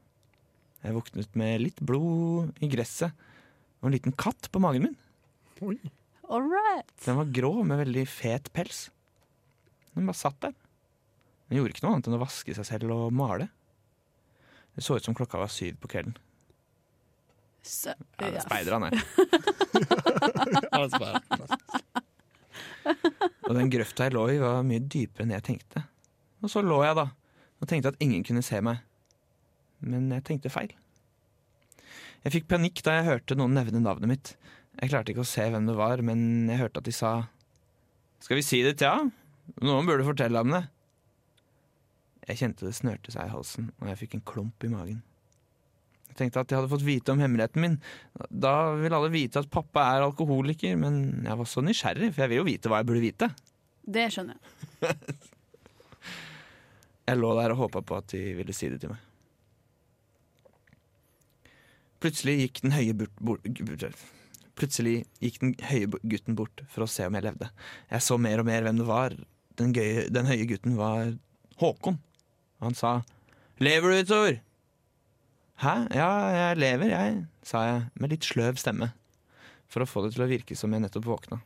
S1: Jeg våknet med litt blod i gresset og en liten katt på magen min.
S2: All right.
S1: Den var grå med veldig fet pels. Den bare satt der. Den gjorde ikke noe annet enn å vaske seg selv og male. Det så ut som klokka var syv på kvelden.
S2: Så,
S1: Ja, det er
S2: ja.
S1: speider han er.
S3: Altså bare-
S1: Og den grøfta jeg lå i, var mye dypere enn jeg tenkte. Og så lå jeg, da, og tenkte at ingen kunne se meg. Men jeg tenkte feil. Jeg fikk panikk da jeg hørte noen nevne navnet mitt. Jeg klarte ikke å se hvem det var, men jeg hørte at de sa Skal vi si det til ham? Noen burde fortelle ham det. Jeg kjente det snørte seg i halsen, og jeg fikk en klump i magen. Jeg tenkte at jeg hadde fått vite om hemmeligheten min. Da vil alle vite at pappa er alkoholiker, men jeg var så nysgjerrig, for jeg vil jo vite hva jeg burde vite.
S2: Det skjønner jeg.
S1: Jeg lå der og håpa på at de ville si det til meg. Plutselig gikk den høye burt, bort, burt- Plutselig gikk den høye bu- gutten bort for å se om jeg levde. Jeg så mer og mer hvem det var. Den, gøye, den høye gutten var Håkon. Han sa 'Lever du, Tor?' 'Hæ? Ja, jeg lever, jeg', sa jeg med litt sløv stemme. For å få det til å virke som jeg nettopp våkna.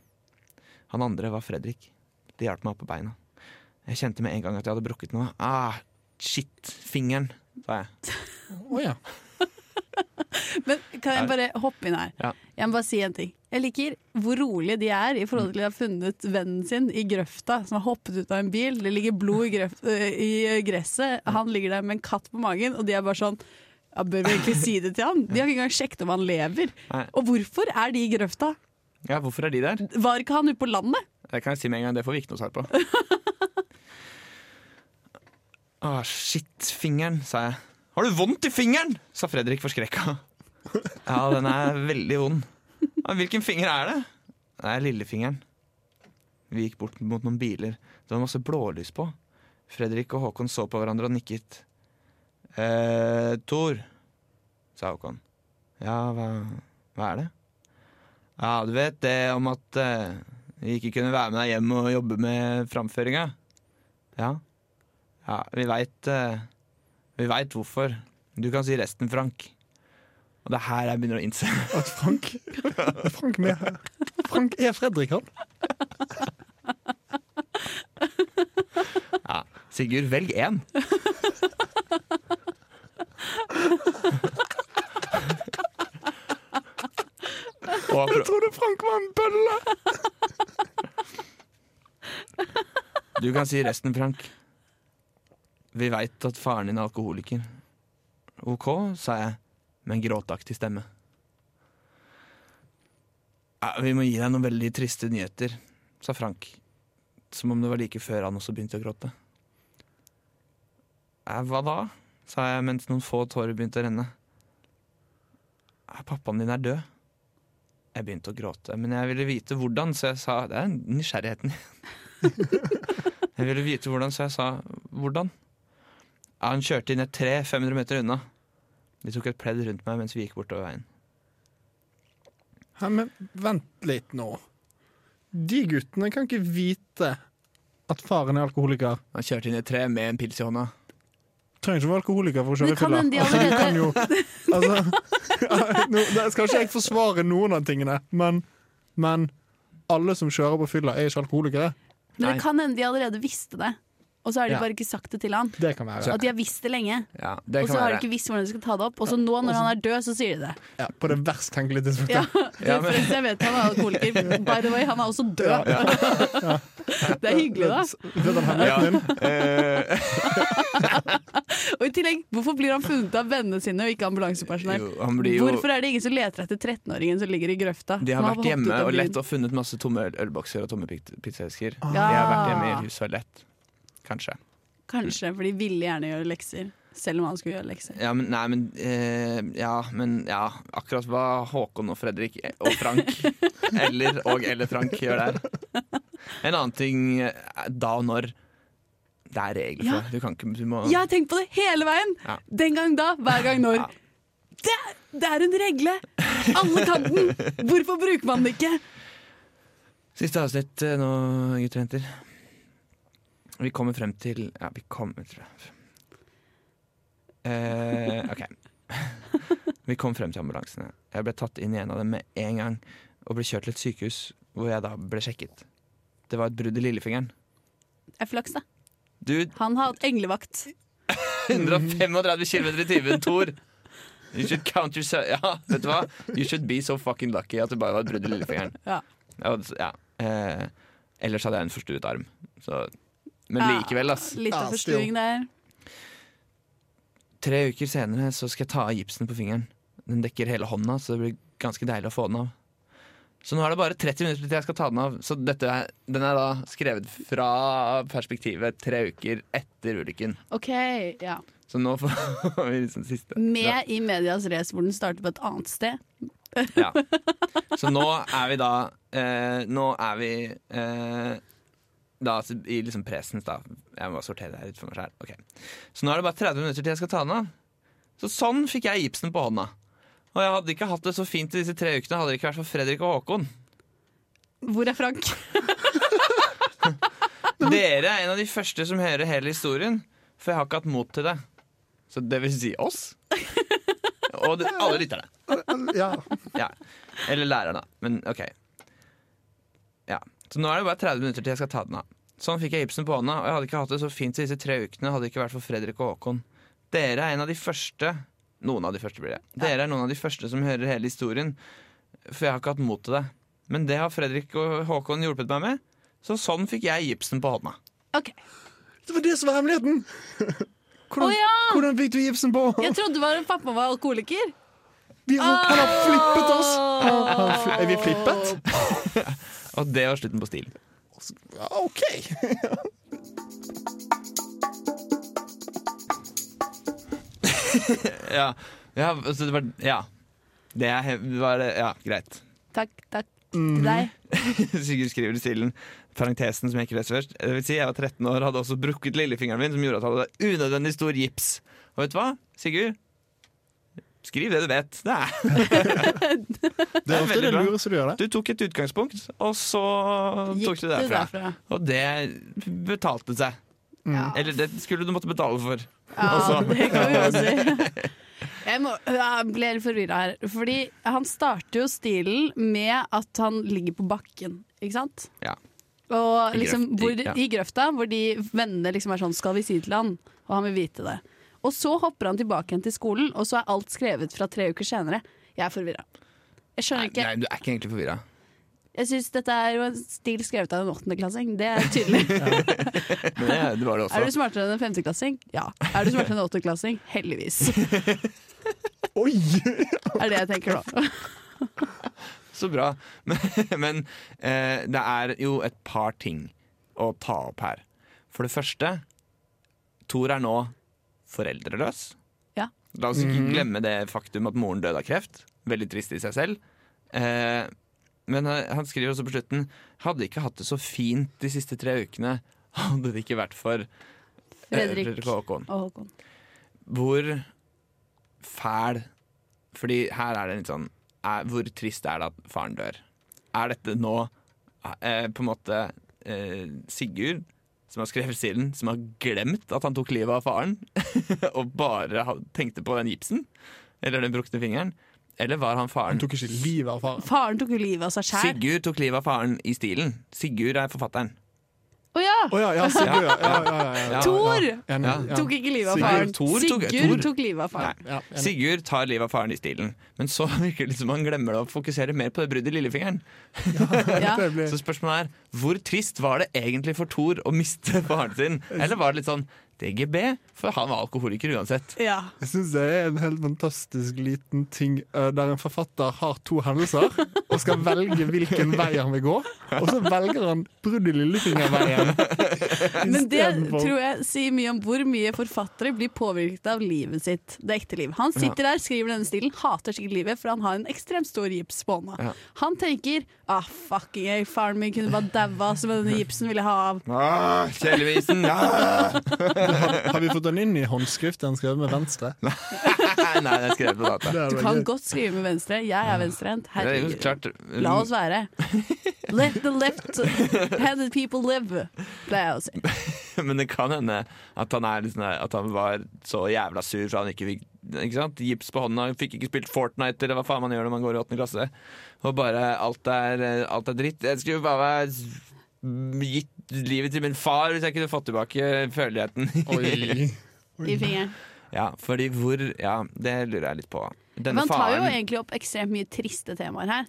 S1: Han andre var Fredrik. De hjalp meg opp på beina. Jeg kjente med en gang at jeg hadde brukket noe. Ah, shit, fingeren, sa jeg.
S3: Å ja.
S2: Men kan
S1: Ja.
S2: jeg bare hoppe inn her?
S1: Ja.
S2: Jeg må bare si en ting. Jeg liker hvor rolige de er i
S1: Mm.
S2: forhold til de har funnet vennen sin i grøfta, som har hoppet ut av en bil. Det ligger blod i, grøft, øh, i gresset. Han ligger der med en katt på magen, og de er bare sånn ja, Bør vi egentlig si det til han? De har ikke engang sjekket om han lever.
S1: Nei.
S2: Og hvorfor er de i grøfta?
S1: Ja, hvorfor er de der?
S2: Var ikke han ute på landet?
S1: Det kan jeg si med en gang, det får vi ikke noe svar på. ah, shit, fingeren, sa jeg. Har du vondt i fingeren? sa Fredrik forskrekka. Ja, den er veldig vond. «Ja, Hvilken finger er det? Det er lillefingeren. Vi gikk bort mot noen biler. Det var masse blålys på. Fredrik og Håkon så på hverandre og nikket. Eh, Tor, sa Håkon. Ja, hva, hva er det? Ja, du vet det om at eh, vi ikke kunne være med deg hjem og jobbe med framføringa? Ja. Ja, vi veit eh, Vi veit hvorfor. Du kan si resten, Frank. Og det er her jeg begynner å innse
S3: At Frank er Frank med her. Frank er Fredrik, han.
S1: Ja. Sigurd, velg én. Og
S3: Jeg trodde Frank var en bølle!
S1: Du kan si resten, Frank. Vi veit at faren din er alkoholiker. OK, sa jeg med en gråtaktig stemme. Ja, vi må gi deg noen veldig triste nyheter, sa Frank. Som om det var like før han også begynte å gråte. Ja, hva da? sa jeg mens noen få tårer begynte å renne. Ja, pappaen din er død. Jeg begynte å gråte, men jeg ville vite hvordan, så jeg sa det er nysgjerrigheten jeg ville vite hvordan, så jeg sa hvordan. Ja, han kjørte inn et tre 500 meter unna. De tok et pledd rundt meg mens vi gikk bortover veien.
S3: Hæ, men vent litt nå. De guttene kan ikke vite at faren er alkoholiker.
S1: Han kjørte inn i et tre med en pils i hånda.
S3: Trenger ikke å være alkoholiker for å
S2: Men
S3: kjøre
S2: kan
S3: fylla.
S2: hende de
S3: Altså, du
S2: allerede-
S3: kan jo altså, nå, da Skal ikke jeg forsvare noen av tingene, men, men alle som kjører på fylla, er ikke alkoholikere.
S2: Men
S1: Nei.
S2: det kan hende de allerede visste det. og så har de
S3: Ja.
S2: bare ikke sagt det til han.
S3: Det kan være.
S2: At de har visst det lenge,
S1: Ja, det
S2: og
S1: kan
S2: så har de
S1: være.
S2: ikke visst hvordan de skal ta det opp. Og så nå når han er død, så sier de det.
S3: Ja, på det verst tenkelige tidspunktet.
S2: Ja,
S1: Ja, men-
S2: forresten, jeg vet han er alkoholiker. By the way, han er også død. Det er hyggelig, da.
S3: Vet han
S1: Ja.
S3: hemmeligheten din?
S1: Eh,
S2: Og i tillegg, hvorfor blir han funnet av vennene sine og ikke ambulansepersonell?
S1: jo, han blir jo
S2: Hvorfor er det ingen som leter etter 13-åringen som ligger i grøfta?
S1: De har
S2: Som
S1: vært
S2: hoppet ut
S1: hjemme
S2: av
S1: og
S2: byen?
S1: lett og funnet masse tomme øl- ølbokser og tomme pit- pizzaesker.
S3: Ah.
S1: De har vært hjemme
S2: Ja.
S1: i huset og lett. Kanskje.
S2: Kanskje, for de ville gjerne gjøre lekser. Selv om han skulle gjøre lekser.
S1: Ja, men, nei, men, eh, ja, men ja, akkurat hva Håkon og Fredrik og Frank eller, og eller Frank gjør der. En annen ting eh, da og når. Det er regler for
S2: Ja.
S1: det. Du kan ikke du må,
S2: Jeg har tenkt på det hele veien!
S1: Ja.
S2: Den gang da, hver gang når.
S1: Ja.
S2: Det, det er en regle! Alle kan den! Hvorfor bruker man den ikke?
S1: Siste avsnitt eh, nå, gutter og jenter. Vi kommer frem til Ja, vi kommer, tror jeg. Eh, OK. Vi kom frem til ambulansene. Jeg ble tatt inn i en av dem med en gang og ble kjørt til et sykehus, hvor jeg da ble sjekket. Det var et brudd i lillefingeren.
S2: Det er flaks, da.
S1: Du,
S2: Han har hatt englevakt.
S1: 135 km i timen, Tor! You should count yourself Ja, vet du hva? You should be so fucking lucky at det bare var et brudd i lillefingeren.
S2: Ja.
S1: Ja, det- ja. Eh, ellers hadde jeg en forstuet arm. Så. Men
S2: Ja.
S1: likevel, ass.
S2: Litt
S3: Ja,
S2: av forstuing der.
S1: Tre uker senere så skal jeg ta av gipsen på fingeren. Den dekker hele hånda, så det blir ganske deilig å få den av. Så nå er det bare 30 minutter til jeg skal ta den av. Så dette er, den er da skrevet fra perspektivet tre uker etter ulykken.
S2: OK, ja.
S1: Så nå får vi liksom siste.
S2: Med i medias race hvor den starter på et annet sted.
S1: Ja. Så nå er vi da eh, Nå er vi eh, da, altså, i liksom presens, da. Jeg må sortere det her ut for meg sjøl. Så nå er det bare 30 minutter til jeg skal ta den av. Så sånn fikk jeg gipsen på hånda. Og jeg hadde ikke hatt det så fint i disse tre ukene hadde det ikke vært for Fredrik og Håkon.
S2: Hvor er Frank?
S1: Dere er en av de første som hører hele historien, for jeg har ikke hatt mot til det. Så det vil si oss. Og det, alle lytterne.
S3: Ja.
S1: Ja. Eller læreren, da. Men OK. Ja. Så nå er det bare 30 minutter til jeg skal ta den av. Sånn fikk jeg gipsen på hånda, og jeg hadde ikke hatt det så fint disse tre ukene hadde det ikke vært for Fredrik og Håkon. Dere er en av de første Noen av de første blir det. Dere er noen av de første som hører hele historien, for jeg har ikke hatt mot til det. Men det har Fredrik og Håkon hjulpet meg med, så sånn fikk jeg gipsen på hånda.
S2: OK.
S3: Det var det som var hemmeligheten!
S2: Å
S3: Hvordan,
S2: ja!
S3: hvordan fikk du gipsen på?
S2: Jeg trodde det var at pappa var alkoholiker.
S3: Vi har, han har flippet oss! Han, han, fli- er vi flippet?
S1: Og det var slutten på stilen.
S3: Ja, OK.
S1: Ja, ja, så det var, ja. Det er, he- var det, ja, greit.
S2: Takk, takk
S1: Mhm.
S2: til deg.
S1: Sigurd skriver i stilen parentesen som jeg ikke leser først. Det vil si, jeg var 13 år hadde også brukket lillefingeren min, som gjorde at jeg hadde unødvendig stor gips. Og vet du hva, Sigurd? Skriv det du vet. Det er.
S3: Det er
S1: ofte
S3: ofte
S1: det
S3: det lureste du gjør. det
S1: Du tok et utgangspunkt, og så tok du det derfra. Og det betalte seg.
S2: Ja.
S1: Eller Altså. det skulle du måtte betale for.
S2: Ja, det kan vi jo si. Jeg, må, jeg ble litt forvirra her. Fordi han starter jo stilen med at han ligger på bakken, ikke sant?
S1: Ja.
S2: Og
S1: I
S2: liksom,
S1: grøft- i-
S2: hvor,
S1: ja.
S2: I grøfta, hvor de vennene liksom er sånn 'skal vi si det til han?' Og han vil vite det. Og så hopper han tilbake igjen til skolen, og så er alt skrevet fra tre uker senere. Jeg er forvirra. Jeg skjønner
S1: Nei,
S2: ikke.
S1: nei, du er ikke egentlig forvirra.
S2: Jeg syns dette er jo en stil skrevet av en åttendeklassing. Det er tydelig.
S1: Men det, det var det
S2: Er du
S1: også.
S2: smartere enn en femteklassing? Ja. Er du smartere enn en åttendeklassing? Heldigvis.
S3: Oi!
S2: er det jeg tenker nå.
S1: Så bra. Men, men eh, det er jo et par ting å ta opp her. For det første, Tor er nå foreldreløs.
S2: Ja.
S1: La oss ikke glemme det faktum at moren døde av kreft. Veldig trist i seg selv. Eh, men eh, han skriver også på slutten Hadde ikke hatt det så fint de siste tre ukene hadde det ikke vært for eh,
S2: Fredrik.
S1: Fredrik og Håkon.
S2: Og Håkon.
S1: Hvor fæl Fordi her er det litt sånn er, Hvor trist er det at faren dør? Er dette nå eh, på en måte eh, Sigurd som har skrevet stilen, som har glemt at han tok livet av faren, og bare ha- tenkte på den gipsen? Eller den brukne fingeren? Eller var han
S3: Han
S1: faren?
S3: tok ikke livet av faren.
S2: Faren tok jo livet av seg sjæl.
S1: Sigurd tok livet av faren i stilen. Sigurd er forfatteren.
S2: Å ja!
S3: Å ja, ja, Sigurd, ja. ja, ja, ja, ja.
S2: Tor
S3: Enig,
S1: Ja.
S3: ja.
S2: tok ikke livet av
S3: Sigurd.
S2: faren.
S1: Tor tok- Tor.
S2: Sigurd tok livet av faren.
S3: Ja, enig.
S1: Sigurd tar livet av faren i stilen, men så virker det som han glemmer det og fokuserer mer på det bruddet i lillefingeren.
S2: Ja.
S3: Det blir-
S1: Så spørsmålet er, hvor trist var det egentlig for Thor å miste faren sin? Eller var det litt sånn DGB? For han var alkoholiker uansett.
S2: Ja.
S3: Jeg syns det er en helt fantastisk liten ting eh, der en forfatter har to hendelser og skal velge hvilken vei han vil gå, og så velger han brudd i lillefingerveien.
S2: Men det
S3: istedenfor-
S2: tror jeg sier mye om hvor mye forfattere blir påvirket av livet sitt. Det ekte liv. Han sitter der, skriver denne stilen, hater sikkert livet, for han har en ekstremt stor gips på hånda.
S1: Ja.
S2: Han tenker ah, fucking hell, faren min kunne bare daua som denne gipsen ville ha av.
S1: Ah, Kjellevisen! Ah!
S3: Har vi fått den inn i håndskrift den skrev med venstre?
S1: Nei, den er skrevet på data.
S3: Det er
S2: Du
S3: veldig-
S2: kan godt skrive med venstre. Jeg er venstrehendt.
S1: Det er jo
S2: Herregud.
S1: klart
S2: La oss være. Let the left-handed people live, pleier jeg å si.
S1: Men det kan hende at han, er litt sånn her- at han var så jævla sur så han ikke fikk ikke sant? gips på hånda, han fikk ikke spilt Fortnite eller hva faen man gjør når man går i åttende klasse. Og bare alt er, alt er dritt. Jeg skulle bare ha s- gitt livet til min far hvis jeg kunne fått tilbake føleligheten.
S3: Oi.
S2: I fingeren.
S1: ja, fordi hvor Ja, det lurer jeg litt på. Denne
S2: Man tar jo
S1: faren
S2: egentlig opp ekstremt mye triste temaer her.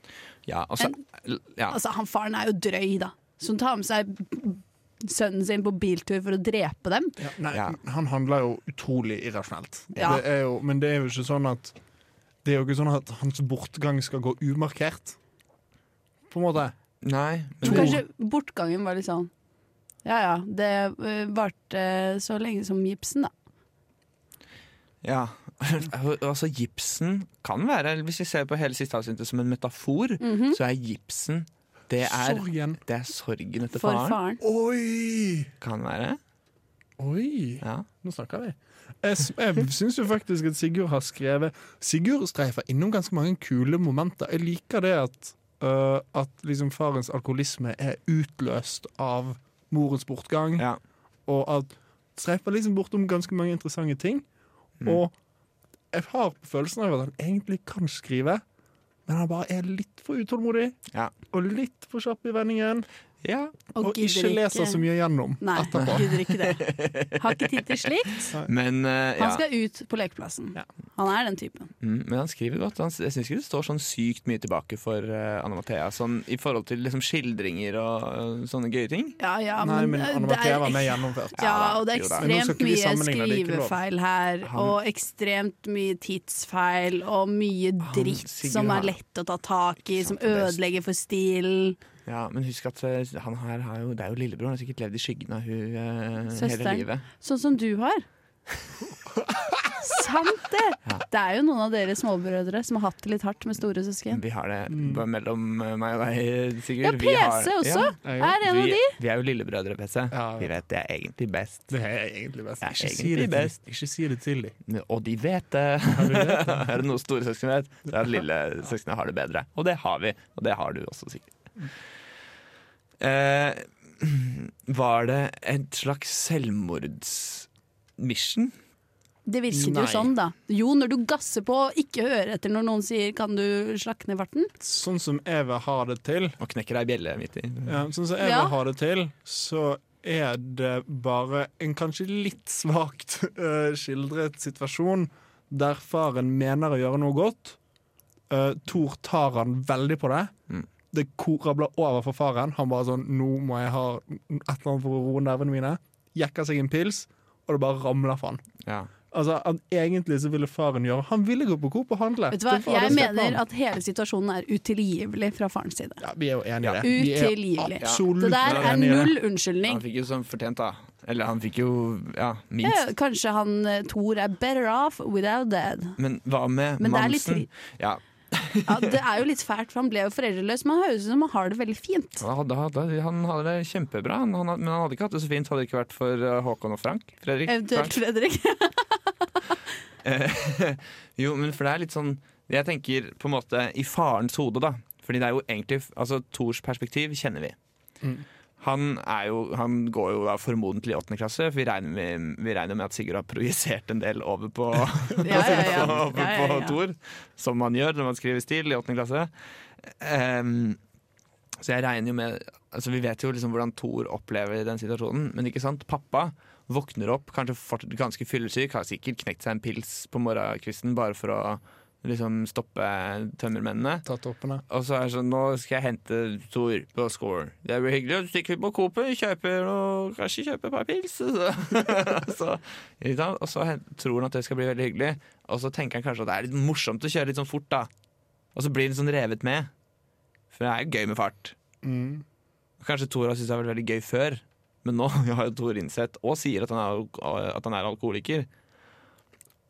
S1: ja, altså, ja,
S2: Altså, han faren er jo drøy, da. Som tar med seg sønnen sin på biltur for å drepe dem.
S3: Ja, nei,
S1: Ja.
S3: han handler jo utrolig irrasjonelt.
S2: Ja.
S3: Det er jo, men det er jo ikke sånn at Det er jo ikke sånn at hans bortgang skal gå umarkert. På en måte.
S1: Nei.
S2: Så
S1: Men,
S2: kanskje bortgangen var litt sånn Ja ja, det eh, varte så lenge som gipsen, da.
S1: ja. altså, gipsen kan være Hvis vi ser på hele siste avsnittet som en metafor,
S2: Mhm.
S1: så er gipsen det er
S3: Sorgen.
S1: Det er sorgen etter
S2: For
S1: faren.
S2: faren.
S3: Oi!
S1: Kan være.
S3: Oi!
S1: Ja.
S3: Nå snakker vi. Jeg, s- jeg syns jo faktisk at Sigurd har skrevet Sigurd streifer innom ganske mange kule momenter. Jeg liker det at, øh, at liksom farens alkoholisme er utløst av morens bortgang,
S1: Ja.
S3: og at streifer liksom bortom ganske mange interessante ting. Og jeg har på følelsen av at han egentlig kan skrive, men han bare er litt for utålmodig
S1: Ja.
S3: og litt for kjapp i vendingen,
S1: ja.
S2: Og,
S3: og, ikke leser så mye gjennom
S2: Nei,
S3: etterpå.
S2: gidder ikke det. Har ikke tid til slikt.
S1: Men, eh, ja.
S2: Han skal ut på lekeplassen.
S3: Ja.
S2: Han er den typen.
S1: Mm, men han skriver godt. Han, jeg syns ikke det står sånn sykt mye tilbake for eh, Anna Mathea sånn, i forhold til liksom, skildringer og eh, sånne gøye ting.
S2: Ja, ja,
S3: Nei, men
S2: eh,
S3: Anne
S2: det
S3: Mathea
S2: er-
S3: var mer gjennomført.
S2: Ja, og det er
S1: Jo da.
S3: Men nå skal
S2: ekstremt
S3: ikke vi
S2: mye
S3: sammenligne, det er ikke lov.
S2: skrivefeil her,
S1: Han-
S2: og ekstremt mye tidsfeil, og mye dritt
S1: Sigurd
S2: som
S1: har-
S2: er lett å ta tak i,
S1: Ikke
S2: som
S1: sant, det er-
S2: ødelegger for stilen.
S1: Ja, men husk at eh, han her har jo Det er jo lillebror. Han har sikkert levd i skyggen av hun eh, hele
S2: Søsteren.
S1: livet.
S2: Sånn som du har. Sant det! Det er jo noen av dere småbrødre som har hatt det litt hardt med store søsken.
S1: Vi har det
S3: Mm.
S1: bare mellom eh, meg og deg, Sigurd.
S2: Ja,
S1: Vi har-
S2: PC også
S1: Ja.
S3: Jeg-
S2: er en av
S1: Vi,
S2: de.
S1: vi er jo lillebrødre, PC.
S3: Ja, ja.
S1: Vi vet det er egentlig best.
S3: Det er egentlig best.
S1: Det er
S3: Ikke, si
S1: egentlig
S3: det
S1: best.
S3: Til, ikke si det til dem.
S1: Og de vet det. er det noe store søsken vet, så er det lille søsknene har det bedre. Og det har vi, og det har du også sikkert. Eh, var det et slags selvmordsmission?
S2: Det virket
S3: Nei.
S2: jo sånn, da. Jo, når du gasser på og ikke hører etter når noen sier 'kan du slakke ned farten'?
S3: Sånn som jeg vil ha det til,
S1: Og knekker ei bjelle midt i.
S3: ja, sånn som jeg
S2: Ja.
S3: vil ha det til, så er det bare en kanskje litt svakt eh, skildret situasjon der faren mener å gjøre noe godt. Eh, Thor tar han veldig på det.
S1: Mm.
S3: Det korabler over for faren. Han bare sånn 'Nå må jeg ha et eller annet for å roe nervene mine.' Jekker seg en pils, og det bare ramler for han.
S1: Ja.
S3: Altså, han, Egentlig så ville faren gjøre Han ville gå på Coop og handle.
S2: Vet du hva,
S3: Det var-
S2: jeg
S3: det slapp han.
S2: mener at hele situasjonen er utilgivelig fra farens side.
S3: Ja, vi er jo enige i det. Vi er
S2: Utilgivelig.
S3: absolutt
S2: Det der
S3: enige
S2: er
S3: i det.
S2: null
S1: Han
S2: unnskyldning.
S1: fikk jo som fortjent, da. Eller han fikk jo ja,
S2: Ja,
S1: minst.
S2: kanskje han eh, Thor er better off without dad.
S1: Men hva med
S2: Men det er litt
S1: Mansen?
S2: tri-
S1: Ja,
S2: Ja, det er jo litt fælt, for han ble jo foreldreløs, men han høres ut som han har det veldig fint.
S1: han hadde, hadde, han hadde det kjempebra, han, han, hadde- men han hadde ikke hatt det så fint hadde det ikke vært for eh, Håkon og Frank. Fredrik.
S2: Eh,
S1: Frank.
S2: Eventuelt Fredrik.
S1: Jo, men for det er litt sånn Jeg tenker på en måte i farens hode, da. Fordi det er jo egentlig Altså, Thors perspektiv kjenner vi.
S3: Mm.
S1: Han, er jo, han går jo da formodentlig i åttende klasse, for vi regner, med, vi regner med at Sigurd har projisert en del over på,
S2: Ja, ja, ja.
S1: over
S2: Ja, ja,
S1: på
S2: ja.
S1: Thor. Som man gjør når man skriver stil i åttende klasse. Ehm, Så jeg regner jo med altså Vi vet jo liksom hvordan Thor opplever den situasjonen, men ikke sant? Pappa våkner opp, kanskje fortsatt ganske fyllesyk, har sikkert knekt seg en pils på morgenkvisten bare for å liksom stoppe tømmermennene.
S3: Ta toppene.
S1: Og så er det sånn Nå skal jeg hente Thor på skolen. Det blir hyggelig. Og så stikker vi på Coop og kjøper noe Kanskje kjøper et par pils. Og så, så, ikke sant? og så hen- tror han at det skal bli veldig hyggelig. Og så tenker han kanskje at det er litt morsomt å kjøre litt sånn fort, da. Og så blir han sånn revet med. For det er jo gøy med fart.
S3: Mm.
S1: Kanskje Thor har syntes det har vært veldig gøy før, men nå har jo Thor innsett, og sier at han er, al- at han er alkoholiker.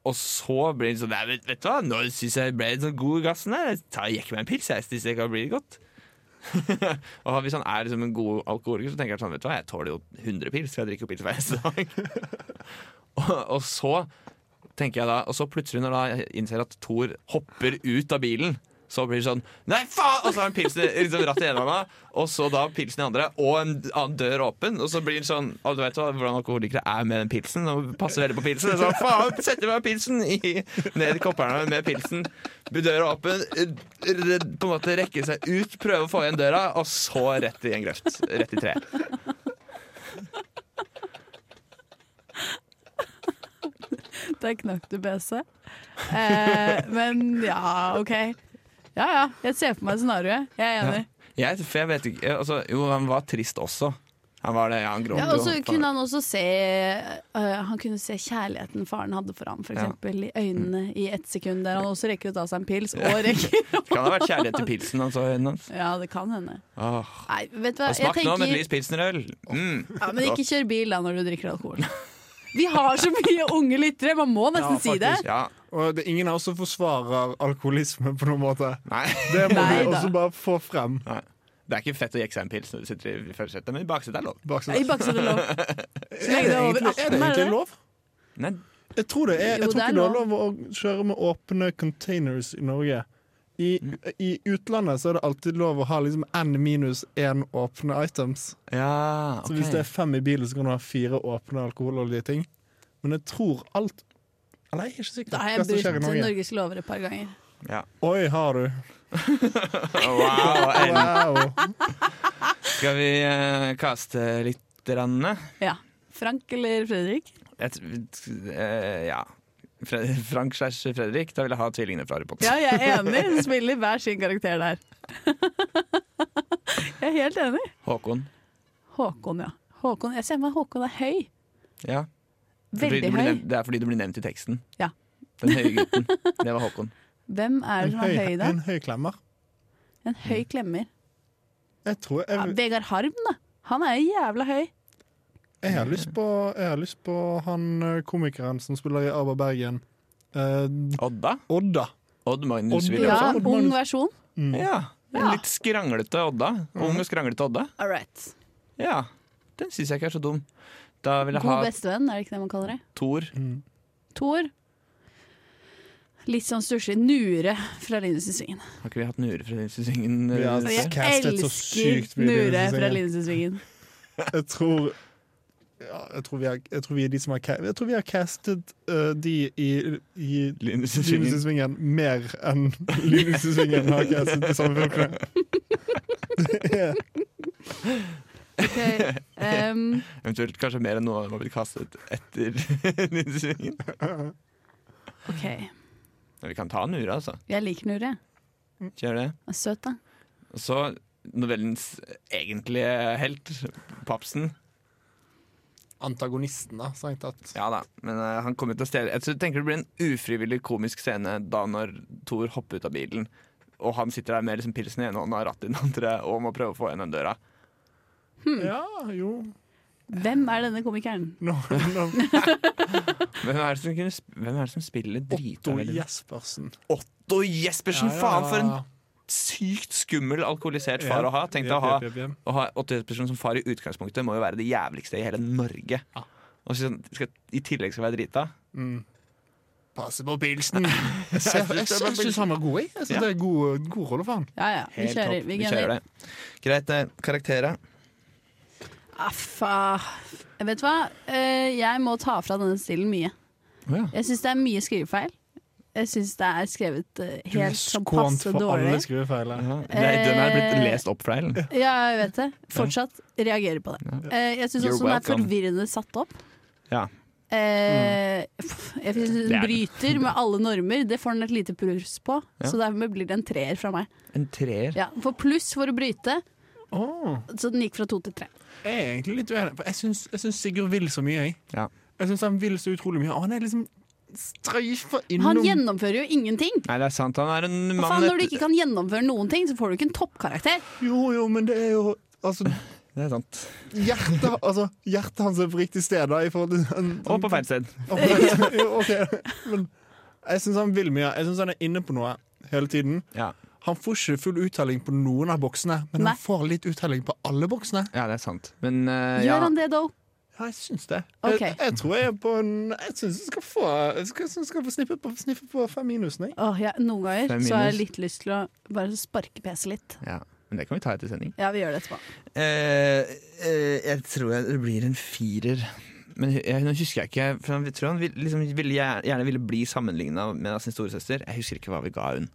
S1: Og så blir han sånn «Nei, vet, vet du hva, nå syns jeg jeg ble litt sånn god i gassen her. Jeg tar jeg ikke meg en pils, jeg. Hvis det kan bli godt. og hvis han er liksom en god alkoholiker, så tenker han sånn Vet du hva, jeg tåler jo 100 pils, for jeg drikker jo pils hver eneste dag. og, og så tenker jeg da, og så plutselig når da jeg innser at Thor hopper ut av bilen, så blir det sånn Nei, faen! Og så har han pilsen i- liksom, rattet i ene hånda, og så da pilsen i andre, og en annen dør åpen. Og så blir det sånn Og du vet hva, hvordan alkoholikere er med den pilsen. Og passer veldig på pilsen. Det er sånn, faen, setter meg pilsen i, ned i kopperne med pilsen. Døra åpen, r- r- på en måte rekke seg ut, prøve å få igjen døra, og så rett i en grøft. Rett i tre.
S2: Der knakk du BC. Eh, men ja, OK. Ja ja, jeg ser for meg scenarioet. Jeg er enig.
S1: Jeg, for jeg vet ikke altså, Jo, han var trist også. Han var det, ja, han gråt
S2: Ja, og så
S1: jo.
S2: kunne han også se øh, Han kunne se kjærligheten faren hadde for ham, f.eks.
S1: Ja.
S2: eksempel I øynene i ett sekund, der han også rekker å ta seg en pils. Og rekker
S1: Kan det ha vært kjærlighet til pilsen han så i øynene hans?
S2: Ja, det kan hende.
S1: Åh.
S2: Nei, vet du hva.
S1: Og
S2: Jeg
S1: smak nå med et
S2: tenker,
S1: lys pilsnerøl. Mm.
S2: ja, men ikke kjør bil da når du drikker alkohol. Vi har så mye unge lyttere, man må nesten
S3: Ja,
S2: si det.
S3: faktisk.
S1: Ja.
S3: Og det, ingen av oss som forsvarer alkoholisme på noen måte.
S1: Nei.
S3: Det må
S2: Nei
S3: vi
S2: da.
S3: også bare få frem.
S1: Nei. Det er ikke fett å jekke seg en pils når du sitter i førersetet, men i baksetet er lov.
S3: Bak
S2: I
S3: seg.
S2: baksetet lov. Så
S3: Er det
S2: lenge det er over
S3: egentlig, er
S2: 18,
S3: det
S2: er det
S3: egentlig
S2: det?
S3: lov?
S1: Nei.
S3: Jeg tror det er,
S2: Jo,
S3: jeg tror
S2: det er
S3: ikke det er lov å kjøre med åpne containers i Norge. I, I utlandet så er det alltid lov å ha liksom n minus én åpne items.
S1: Ja,
S3: Så hvis det er fem i bilen, så kan du ha fire åpne alkoholholdige ting. Men jeg tror alt Eller jeg er ikke sikker.
S2: Da har
S3: Hva
S2: jeg
S3: som skjer i
S2: brutt
S3: Norge.
S2: Norges lover et par ganger.
S3: Oi, har du.
S1: Wow, en.
S3: Wow.
S1: Skal vi eh, kaste litt? Rande?
S2: Ja. Frank eller Fredrik?
S1: Jeg, tr- eh, ja. Fre Frank slash Fredrik. Da vil jeg ha tvillingene fra Harry Potter.
S2: Ja, jeg er enig. Hun spiller hver sin karakter der. Jeg er helt enig.
S1: Håkon.
S2: Håkon, ja. Håkon, jeg ser meg Håkon er høy.
S1: Ja. Fordi
S2: Veldig
S1: du blir
S2: høy.
S1: nevnt- Det er fordi du blir nevnt i teksten.
S2: Ja.
S1: Den høye gutten. Det var Håkon.
S2: Hvem er
S3: En
S2: det som
S3: høy,
S2: er høy, da?
S3: en høy klemmer.
S2: En høy klemmer.
S3: Jeg tror
S2: Ja,
S3: jeg,
S2: Vegard Harm, da. Han er jo jævla høy.
S3: jeg,
S1: Eh.
S3: har lyst på, jeg har lyst på han eh, komikeren som spiller i Arba Bergen. Eh,
S1: Odda?
S3: Odda. Mm.
S1: Odd Magnus
S3: Odd,
S1: Williamson.
S2: Ja,
S3: også.
S2: Ung versjon.
S1: Ja. En
S2: Mm. Ja. Mm.
S1: litt skranglete Odda. Ung og skranglete Odda.
S2: All right.
S1: Ja. Den syns jeg ikke er så dum. Da vil jeg ha
S2: God bestevenn, er det ikke det man kaller det?
S1: Thor.
S3: Mm.
S2: Thor. Litt sånn stusslig. Nure fra Lindesnesvingen.
S1: Har ikke vi hatt Nure fra Lindesnesvingen?
S3: Vi har-
S2: Og
S1: eh,
S2: jeg
S3: Castet så sykt
S2: elsker
S3: mye
S2: Nure
S3: Lindesnesvingen.
S2: fra Lindesnesvingen.
S3: Jeg tror ja, jeg, tror vi er, jeg tror vi er de som har ca- Jeg tror vi har castet eh, de i, i
S1: Lindesnesvingen.
S3: Linusesvingen mer enn Linusesvingen har castet de samme folkene.
S2: Okay. Um,
S1: Eventuelt kanskje mer enn noe av dem har blitt kastet etter Lindesnesvingen.
S2: OK.
S1: Men Vi kan ta Nure, altså.
S2: Jeg liker Nure.
S1: Kjør det.
S2: Han er Søt, da.
S1: Og så novellens egentlige helt, Papsen.
S3: Antagonisten, da, strengt tatt.
S1: Ja da, men eh, han kommer til å stjele. Jeg tror- tenker det blir en ufrivillig komisk scene da når Thor hopper ut av bilen, og han sitter der med liksom pilsen i ene hånda og rattet i den andre og må prøve å få igjen den døra.
S3: Mm. Ja, jo
S2: Hvem er denne komikeren?
S3: no, no.
S1: Hvem er det som, kunne, sp- hvem er det som spiller drita
S3: Otto
S1: veldig?
S3: Jespersen.
S1: Otto Jespersen! Faen, for en sykt skummel, alkoholisert far å ha. Tenk deg å ha, å ha Otto Jespersen som far i utgangspunktet må jo være det jævligste i hele Norge.
S3: Ja.
S1: Og så skal, i tillegg skal være drita.
S3: Passe på pilsen! Jeg, jeg, jeg, jeg syns han var god, jeg. jeg synes
S1: Ja.
S3: Det er god, god rolle for han.
S2: Ja ja, vi
S1: Helt
S2: kjører.
S1: topp.
S2: Vi gunner.
S1: det. Greit, eh, karakterer.
S2: Affa. Vet du hva? Eh, Jeg må ta fra denne stilen mye.
S1: Å ja.
S2: Jeg syns det er mye skrivefeil. Jeg syns det er skrevet eh,
S3: Du er
S2: helt sånn
S3: skånt
S2: passe
S3: for alle
S2: dårlig.
S3: skrivefeiler.
S1: Ja, det, den er blitt
S2: Eh,
S1: lest opp feil.
S2: Ja, jeg vet det. Fortsatt reagerer på det. Eh, jeg syns
S1: You're
S2: også den er
S1: welcome.
S2: forvirrende satt opp.
S1: Ja.
S2: Eh, pff, jeg synes
S1: Det er
S2: den
S1: den.
S2: bryter med alle normer, det får den et lite pluss på.
S1: Ja.
S2: Så dermed blir det en treer fra meg.
S1: En treer.
S2: Ja, for pluss for å bryte,
S3: Åh,
S2: så den gikk fra to til tre.
S3: jeg er egentlig litt uenig, for jeg syns, jeg syns Sigurd vil så mye, jeg.
S1: Ja.
S3: Jeg syns han vil så utrolig mye, og han er liksom streifa
S2: Han
S3: innom
S2: gjennomfører jo ingenting!
S1: Nei, det er sant. Han er en
S2: Hva
S1: mann
S2: faen, når du
S1: etter-
S2: ikke kan gjennomføre noen ting, så får du ikke en toppkarakter.
S3: Jo, jo, men det er jo Altså,
S1: Det er sant.
S3: hjertet, altså, hjertet hans er på riktig sted, da, i forhold til han,
S1: Og på feil sted.
S3: Og på feil- jo, ok. Men jeg syns han vil mye. Jeg syns han er inne på noe hele tiden.
S1: Ja,
S3: Han får ikke full uttelling på noen av boksene, men
S2: Nei.
S3: han får litt uttelling på alle boksene.
S1: ja det er sant. Men eh, ja.
S2: Gjør han det, though?
S3: Ja, jeg syns det.
S2: Ok.
S3: Jeg, jeg tror jeg er på en Jeg syns jeg skal få Jeg skal, jeg synes jeg skal få snippe på, sniffe på fem minusen, jeg.
S2: Åh, ja, noen ganger
S1: Fem
S2: så har jeg
S1: minus.
S2: litt lyst til å bare sparke PC litt.
S1: ja. Men det kan vi ta etter sending.
S2: Ja, vi gjør det etterpå.
S1: Eh, eh, jeg tror jeg, det blir en firer. Men hu- jeg, nå husker jeg ikke For Jeg tror han vil, liksom, ville, gjerne, gjerne ville bli sammenligna med sin storesøster. Jeg husker ikke hva vi ga hun.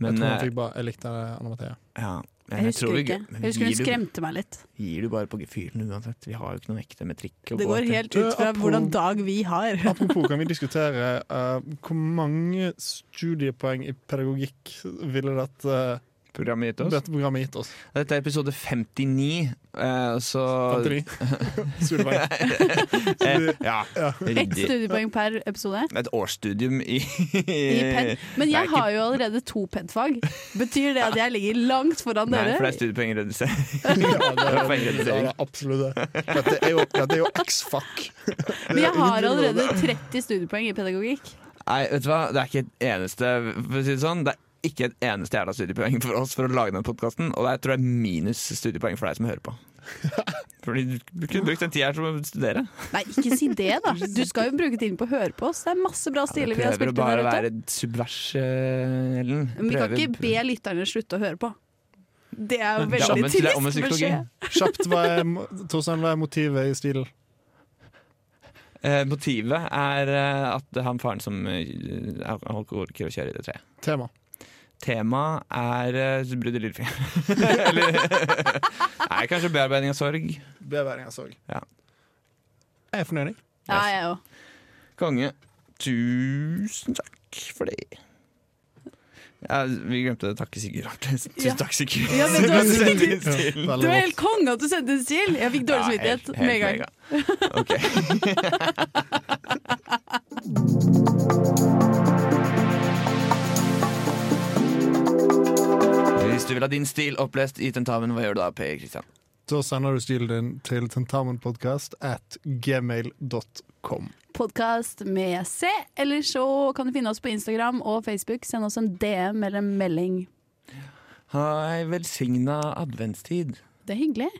S1: Men
S3: jeg tror
S1: eh,
S3: jeg fikk bare Jeg likte Anne Mathea.
S1: ja, men
S2: Jeg husker
S1: tror vi-
S2: ikke.
S1: men
S2: Jeg husker hun
S1: gir du-
S2: skremte meg litt.
S1: Gir du bare på gefühlen uansett? Vi har jo ikke noe ekte metrikk. å
S2: Det
S1: gå
S2: går
S1: etter.
S2: helt ut fra
S3: Apro-
S2: hvordan dag vi har.
S3: Apropos, kan vi diskutere eh, hvor mange studiepoeng i pedagogikk ville dette, eh,
S1: Programmet gitt oss.
S3: dette programmet gitt oss?
S1: Dette er episode 59, eh, så
S3: 59 studiepoeng.
S1: Eh, ja,
S3: Ja.
S2: Ett
S1: ryddig.
S2: studiepoeng per episode.
S1: Et årsstudium i,
S2: I ped. Men
S1: Eh, Det er
S2: jeg
S1: ikke-
S2: har jo allerede to PED-fag. Betyr det at jeg ligger langt foran
S1: Nei, for det er
S2: dere?
S1: studiepoengredusering.
S3: Ja, det er,
S1: Poengredusering.
S3: ja, det er absolutt det. Dette er jo, dette er jo X-fuck.
S2: Men jeg har allerede 30 studiepoeng i pedagogikk.
S1: Nei, vet du hva? Det er ikke et eneste for å si det, sånn, det er ikke et eneste jævla studiepoeng for oss for å lage den podkasten. Og det er, tror jeg er minus studiepoeng for deg som hører på. Fordi du du kunne brukt den tida her til å studere.
S2: Nei, ikke si det, da! Du skal jo bruke tiden på å høre på oss. Det er masse bra stiler vi
S1: prøver
S2: har
S1: å
S2: spilt inn
S1: bare
S2: her ute.
S1: være subvers, eh, Ellen.
S2: Men vi kan
S1: Prøver-
S2: ikke be lytterne slutte å høre på. Det er
S1: Det
S2: jo
S1: er
S2: veldig
S1: omvendt- det er
S2: trist
S1: omvendt psykologi.
S2: beskjed.
S3: Kjapt, hva er, Torstein, hva er motivet i stilen?
S1: Eh, motivet er eh, at det er han faren som eh, er alkoholiker og kjører i det treet.
S3: Tema.
S1: Temaet er uh, brudd i lillefingeren. Eller Nei, kanskje bearbeiding av sorg.
S3: Beværing av sorg.
S1: Ja.
S3: Jeg er fornøyd. jeg.
S2: Ja, jeg òg.
S1: Konge. Tusen takk for det. Ja, vi glemte å takke Sigurd Artes. Tusen
S2: Ja.
S1: takk, Sigurd.
S2: Ja, men du har
S1: Sigurd
S2: Sigurd-
S1: sendte inn stil.
S3: Veldig
S2: Du er
S3: godt.
S2: helt konge at du sendte en stil! Jeg fikk dårlig
S1: Ja, helt-
S2: samvittighet med en gang.
S1: helt mega. Ok. Hvis du vil ha din stil opplest i tentamen, hva gjør du da, Per Kristian?
S3: Da sender du stilen din til tentamenpodkast at gmail.com.
S2: podkast med C. Eller så kan du finne oss på Instagram og Facebook. Send oss en DM eller en melding.
S1: Ha ei velsigna adventstid.
S2: Det er hyggelig.